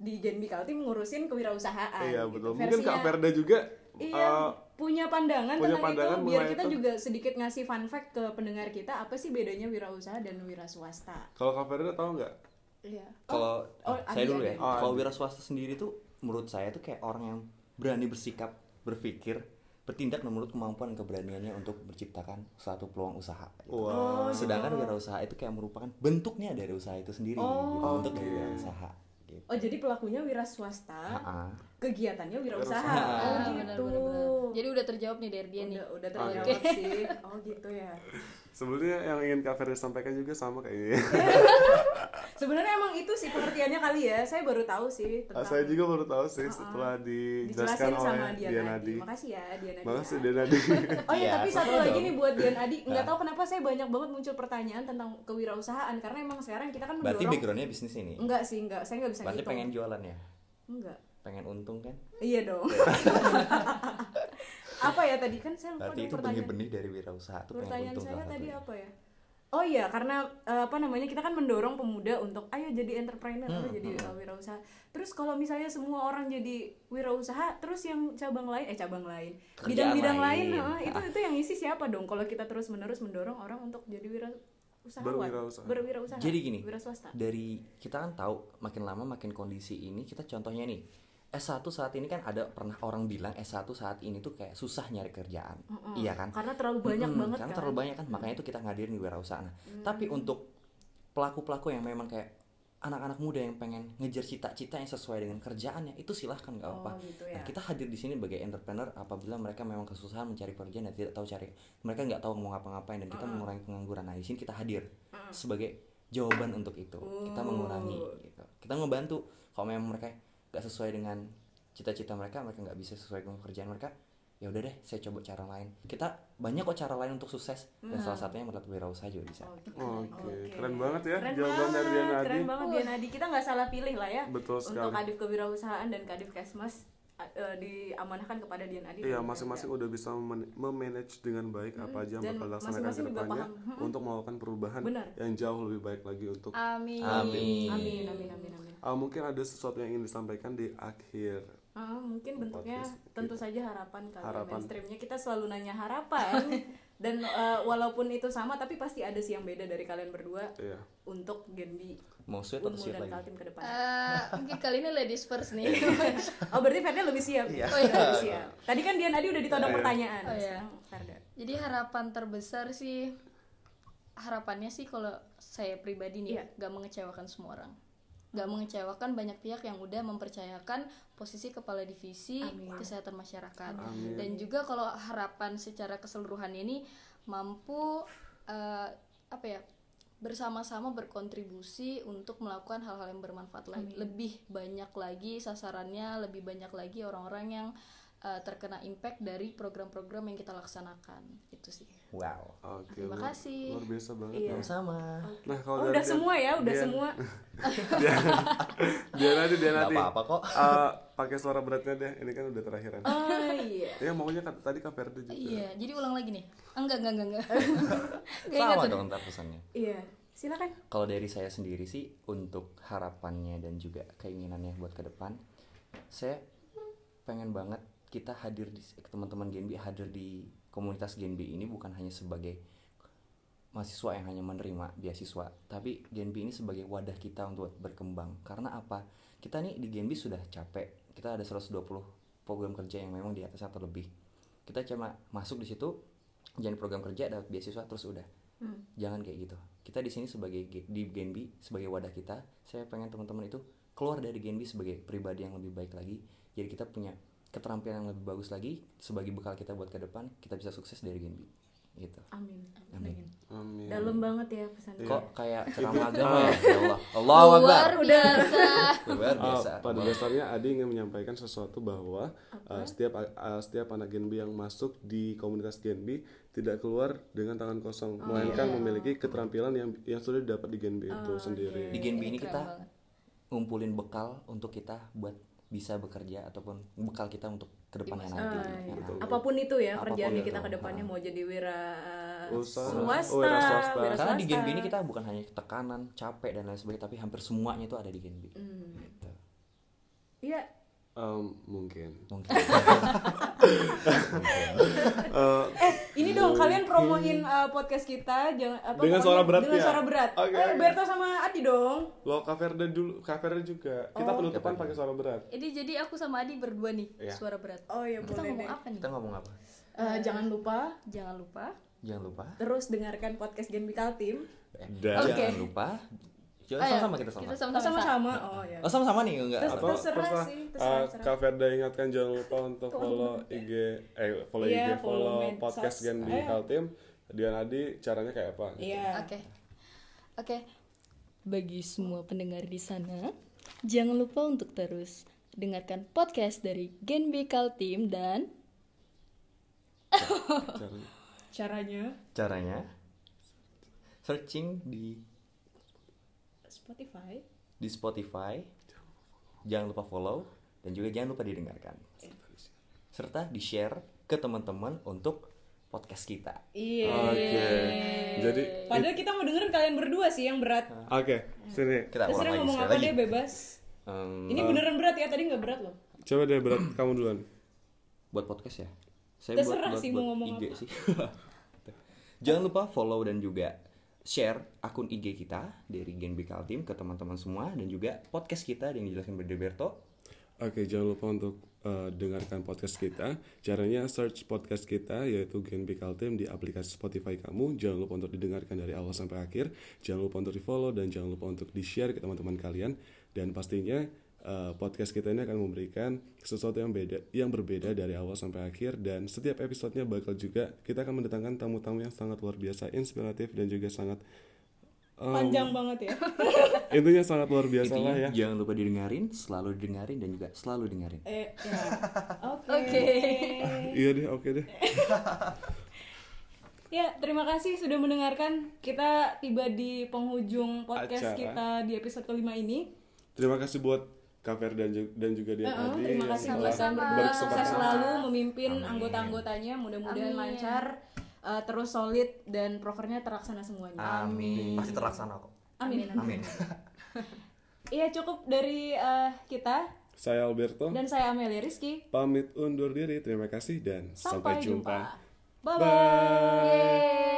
S2: di Genbi Kaltim ngurusin kewirausahaan.
S1: Iya
S2: gitu.
S1: betul. Mungkin Kak
S2: Versinya-
S1: Verda juga
S2: Iya,
S1: eh,
S2: punya pandangan
S1: punya
S2: tentang
S1: pandangan
S2: itu biar
S1: mengenai
S2: kita
S1: itu.
S2: juga sedikit ngasih fun fact ke pendengar kita apa sih bedanya wirausaha dan wira swasta.
S1: kalau Kak Verda tahu nggak?
S2: Iya.
S3: Kalau
S2: Oh,
S3: ah, saya
S2: Adi,
S3: dulu ya,
S2: Adi.
S1: Oh,
S3: kalau
S1: Adi.
S3: wira swasta sendiri tuh menurut saya tuh kayak orang yang berani bersikap, berpikir, bertindak menurut kemampuan dan keberaniannya untuk menciptakan suatu peluang usaha. gitu.
S1: Wah.
S2: Oh,
S3: Sedangkan wirausaha itu kayak merupakan bentuknya dari usaha itu sendiri, gitu,
S2: Oh,
S3: bentuk dari
S1: oke.
S3: wirausaha. Gitu.
S2: Oh jadi pelakunya wira swasta,
S3: Ah,
S2: kegiatannya wirausaha.
S1: Wirausaha.
S2: Oh
S4: Ah, benar,
S2: gitu.
S4: benar, benar. Jadi udah terjawab nih dari dia nih.
S2: udah, udah terjawab sih. Oh gitu ya.
S1: Sebenarnya yang ingin Kak Ferry sampaikan juga sama kayaknya.
S2: Iya, Sebenarnya emang itu sih pengertiannya kali ya. Saya baru tahu sih tentang.
S1: Ah, Saya juga baru tahu sih
S2: Uh-uh.
S1: setelah dijelaskan
S2: dijelasin
S1: oleh
S2: sama Dian,
S1: Dian
S2: Adi.
S1: Adi.
S2: Makasih ya Dian Adi.
S1: Makasih Dian Adi.
S2: Oh iya,
S3: Iya,
S2: tapi satu
S3: sama
S2: lagi
S3: dong.
S2: nih buat Dian Adi, nggak tahu kenapa saya banyak banget muncul pertanyaan tentang kewirausahaan karena emang sekarang kita kan
S3: berarti
S2: mendorong
S3: backgroundnya bisnis ini.
S2: enggak sih, enggak. Saya nggak bisa
S3: Berarti
S2: ngitung.
S3: pengen jualan ya,
S2: Enggak.
S3: pengen untung kan?
S2: Iya dong. apa ya tadi kan saya lupa
S3: Berarti
S2: dulu
S3: itu
S2: pertanyaan.
S3: benih-benih dari wirausaha itu pengen
S2: Pertanyaan
S3: untung
S2: saya
S3: salah
S2: tadi
S3: satunya.
S2: apa ya? Oh iya, karena eh, apa namanya kita kan mendorong pemuda untuk ayo jadi entrepreneur atau
S3: Hmm,
S2: jadi eh, wirausaha. Terus kalau misalnya semua orang jadi wirausaha, terus yang cabang lain eh cabang lain,
S3: Kerjaan
S2: bidang-bidang lain,
S3: lain.
S2: eh, itu itu yang isi siapa dong? Kalau kita terus-menerus mendorong orang untuk jadi wirausaha,
S1: Berwirausaha.
S2: berwirausaha,
S3: Jadi gini.
S2: wira swasta.
S3: dari kita kan tahu makin lama makin kondisi ini kita contohnya nih S1 saat ini kan ada pernah orang bilang S1 saat ini tuh kayak susah nyari kerjaan iya kan
S2: Karena terlalu banyak
S3: Mm-mm,
S2: banget
S3: karena
S2: kan. Hmm.
S3: terlalu banyak kan makanya itu kita ngadirin di wirausaha Nah, tapi untuk pelaku-pelaku yang memang kayak anak-anak muda yang pengen ngejar cita-cita yang sesuai dengan kerjaannya itu silahkan nggak apa-apa
S2: Oh, gitu ya.
S3: Nah, kita hadir di sini sebagai entrepreneur apabila mereka memang kesusahan mencari pekerjaan dan tidak tahu cari mereka nggak tahu mau ngapa-ngapain dan kita mengurangi pengangguran nah di sini kita hadir sebagai jawaban untuk itu
S2: Oh.
S3: kita mengurangi gitu. kita ngebantu kalau memang mereka nggak sesuai dengan cita-cita mereka mereka nggak bisa sesuai dengan pekerjaan mereka ya udah deh saya coba cara lain kita banyak kok cara lain untuk sukses dan salah satunya melalui wirausaha juga bisa
S2: Mm. Oh, gitu.
S1: Oke, keren banget ya
S2: Keren
S1: jawaban
S2: banget,
S1: dari Dian Adi.
S2: Keren banget Dian Adi. Kita nggak salah pilih lah ya.
S1: Betul
S2: Untuk
S1: sekali.
S2: kadif kewirausahaan dan kadif kesmas a- eh, diamanahkan kepada Dian Adi.
S1: Iya, masing-masing udah bisa men- memanage dengan baik apa aja yang
S2: Hmm, dan
S1: bakal laksanakan ke
S2: masing-masing juga
S1: depannya
S2: paham. Hmm.
S1: untuk melakukan perubahan
S2: Benar. Ah.
S1: yang jauh lebih baik lagi untuk
S4: Amin.
S3: amin,
S2: iya. Amin, amin, amin, amin.
S1: Ah, mungkin ada sesuatu yang ingin disampaikan di akhir.
S2: Ah, mungkin bentuknya tentu saja harapan kali
S1: gitu.
S2: ya,
S1: Harapan.
S2: mainstreamnya kita selalu nanya harapan dan eh, walaupun itu sama tapi pasti ada sih yang beda dari kalian berdua
S1: Iya.
S2: untuk Genbi
S3: mau sweet atau
S2: Unmul
S3: sweet
S2: dan
S3: lagi
S2: Kaltim ke depan.
S4: Eh, mungkin kali ini ladies first nih.
S2: Oh berarti Ferda lebih siap.
S4: Oh, iya.
S2: Lebih siap. Tadi kan Dian Adi udah ditodong pertanyaan.
S4: Oh, iya.
S2: Sekarang Ferda.
S4: Jadi harapan terbesar sih harapannya sih kalau saya pribadi nih
S2: Iya.
S4: nggak mengecewakan semua orang. nggak mengecewakan banyak pihak yang udah mempercayakan posisi kepala divisi
S2: Amin.
S4: kesehatan masyarakat.
S1: Amin.
S4: Dan juga kalau harapan secara keseluruhan ini mampu eh, apa ya? bersama-sama berkontribusi untuk melakukan hal-hal yang bermanfaat lagi. Lebih banyak lagi sasarannya, lebih banyak lagi orang-orang yang eh, terkena impact dari program-program yang kita laksanakan. Itu sih.
S3: wow
S1: Oke.
S4: Terima
S1: luar-
S4: kasih.
S1: Luar biasa banget.
S2: Iya.
S3: sama
S1: Nah, kalau
S2: Oh,
S1: dari
S2: udah
S1: Dian-
S2: semua ya, udah
S1: Dian-
S2: semua.
S1: Dian Adi, Dian
S3: nggak
S1: Adi.
S3: apa-apa kok
S1: Eh, pakai suara beratnya deh. Ini kan udah terakhiran.
S2: Oh iya.
S1: Ya maunya kan- tadi kan Ferdi juga.
S3: Gitu.
S4: Iya, jadi ulang lagi nih. Enggak, enggak, enggak, enggak.
S2: Oh,
S4: Enggak ingat
S3: sama
S4: udah.
S3: dong ntar pesannya
S2: Iya. Silakan.
S3: Kalau dari saya sendiri sih untuk harapannya dan juga keinginannya buat ke depan, saya pengen banget kita hadir di teman-teman Genbi hadir di komunitas Genbi ini bukan hanya sebagai mahasiswa yang hanya menerima beasiswa, tapi Genbi ini sebagai wadah kita untuk berkembang. Karena apa? Kita nih di Genbi sudah capek. Kita ada 120 program kerja yang memang di atas atau lebih. Kita cuma masuk di situ, jadi program kerja dapat beasiswa terus udah. Jangan kayak gitu. Kita di sini sebagai Ge- di Genbi sebagai wadah kita. Saya pengen teman-teman itu keluar dari Genbi sebagai pribadi yang lebih baik lagi. Jadi kita punya keterampilan yang lebih bagus lagi sebagai bekal kita buat ke depan, kita bisa sukses dari Genbi. Gitu.
S2: Amin.
S3: Amin. Iya.
S1: Amin.
S2: Dalam banget ya pesannya.
S3: Kok kayak ceramah agama ya? Ya Allah. Allahu Akbar.
S4: Luar biasa.
S3: Luar
S1: Ah,
S3: biasa.
S1: pada dasarnya Adi ingin menyampaikan sesuatu bahwa eh, setiap eh, setiap anak Genbi yang masuk di komunitas Genbi tidak keluar dengan tangan kosong,
S2: Oh,
S1: melainkan
S2: iya.
S1: memiliki keterampilan yang yang sudah dapat di Genbi itu
S2: Oh,
S1: sendiri.
S3: Di Genbi ini
S4: Keren
S3: kita
S4: banget.
S3: ngumpulin bekal untuk kita buat bisa bekerja ataupun bekal kita untuk kedepannya nanti. Ya.
S2: Eh, iya. Apapun itu ya
S3: Apapun
S2: kerjaannya
S3: itu.
S2: kita ke depannya mau jadi wira eh,
S1: Usaha.
S2: swasta,
S1: Wira swasta.
S2: wira
S3: Karena di
S2: swasta.
S3: Genbi ini kita bukan hanya tekanan, capek dan lain sebagainya, tapi hampir semuanya itu ada di Genbi.
S2: Mm.
S3: Gitu.
S2: Hmm. Iya.
S1: Em, mungkin.
S3: Mungkin.
S1: Eh,
S2: Eh, ini dong kalian promoin eh, podcast kita jangan apa
S1: Dengan
S2: pokoknya
S1: suara berat
S2: Dengan
S1: ya?
S2: suara berat.
S1: Oke,
S2: Eh,
S1: oke.
S2: Berto sama Adi dong.
S1: lo kaverda dulu, kaverda juga.
S2: Oh.
S1: Kita penutupan pakai suara berat.
S3: Iya.
S4: Ini jadi aku sama Adi berdua nih, suara berat.
S2: Oh ya
S4: Kita
S2: boleh
S4: ngomong
S2: deh.
S4: apa nih?
S3: kita ngomong apa?
S2: Eh, jangan lupa
S4: Jangan lupa
S3: Jangan lupa.
S2: terus dengarkan podcast Genbi Kaltim.
S3: Eh,
S1: Dan-
S3: Jangan lupa. Jangan
S4: Ayo,
S3: sama-sama kita sama.
S4: Kita
S2: Oh,
S4: sama-sama.
S2: Sama-sama. Oh ya.
S3: Oh, sama-sama nih enggak.
S2: Terus-
S3: apa?
S1: atau
S2: terserah
S1: terserah,
S2: sih,
S1: eh,
S2: terserah, terserah.
S1: Kak Ferda ingatkan jangan lupa untuk follow IG eh follow
S2: Iya,
S1: IG
S2: follow
S1: follow
S2: medsos.
S1: podcast Gen di
S2: Ayo.
S1: Kaltim Dian Adi caranya kayak apa gitu.
S2: Iya.
S4: Oke. Oke. Bagi semua pendengar di sana, jangan lupa untuk terus dengarkan podcast dari Gen Bikal Team dan
S1: Caranya.
S2: Caranya
S3: Caranya searching di
S2: Spotify.
S3: di Spotify. Jangan lupa follow dan juga jangan lupa didengarkan. Serta di-share ke teman-teman untuk podcast kita.
S2: Iya.
S1: oke jadi
S2: Padahal kita mau dengerin kalian berdua sih yang berat.
S1: oke sini
S3: Kita ulang
S2: Terserah
S3: lagi
S2: ngomong
S3: sekali
S2: apa
S3: lagi.
S2: deh bebas.
S3: Em,
S2: Ini beneran berat ya, tadi nggak berat loh.
S1: coba deh berat kamu duluan
S3: buat podcast ya. Saya
S2: Terserah sih mau ngomong
S3: IG sih. Jangan lupa follow dan juga share akun IG kita dari Gen Bikal Team ke teman-teman semua dan juga podcast kita yang dijelasin Berdeberto.
S1: Oke, jangan lupa untuk eh, dengarkan podcast kita. Caranya search podcast kita yaitu Gen B Kaltim di aplikasi Spotify kamu. Jangan lupa untuk didengarkan dari awal sampai akhir. Jangan lupa untuk di-follow dan jangan lupa untuk di-share ke teman-teman kalian dan pastinya eh, podcast kita ini akan memberikan sesuatu yang beda yang berbeda dari awal sampai akhir dan setiap episodenya bakal juga kita akan mendatangkan tamu-tamu yang sangat luar biasa, inspiratif dan juga sangat em,
S2: Panjang banget ya.
S1: intinya sangat luar biasa lah ya.
S3: Intinya jangan lupa didengarin, selalu didengarin dan juga selalu dengerin.
S2: Eh, ya. Oke.
S4: Oke.
S1: Iya deh, oke deh.
S2: Ya, terima kasih sudah mendengarkan. Kita tiba di penghujung podcast
S1: Acara.
S2: kita di episode kelima ini.
S1: Terima kasih buat Kaver dan juga, dan juga Dian
S2: Heeh,
S1: Adi
S2: Uh-uh, terima
S1: yang
S2: kasih
S1: telah
S2: buat kalian berdua.
S1: berkesempatan.
S2: Sukses selalu memimpin anggota-anggotanya. Mudah-mudahan
S4: Amin.
S2: lancar, eh, terus solid dan prokernya terlaksana semuanya.
S3: Amin. Pasti terlaksana kok.
S2: Amin.
S3: Amin.
S2: Iya, cukup dari eh, kita
S1: Saya Alberto
S2: dan saya Amelia Rizky.
S1: pamit undur diri. Terima kasih dan sampai,
S2: Sampai, jumpa.
S1: Bye.
S2: Bye bye.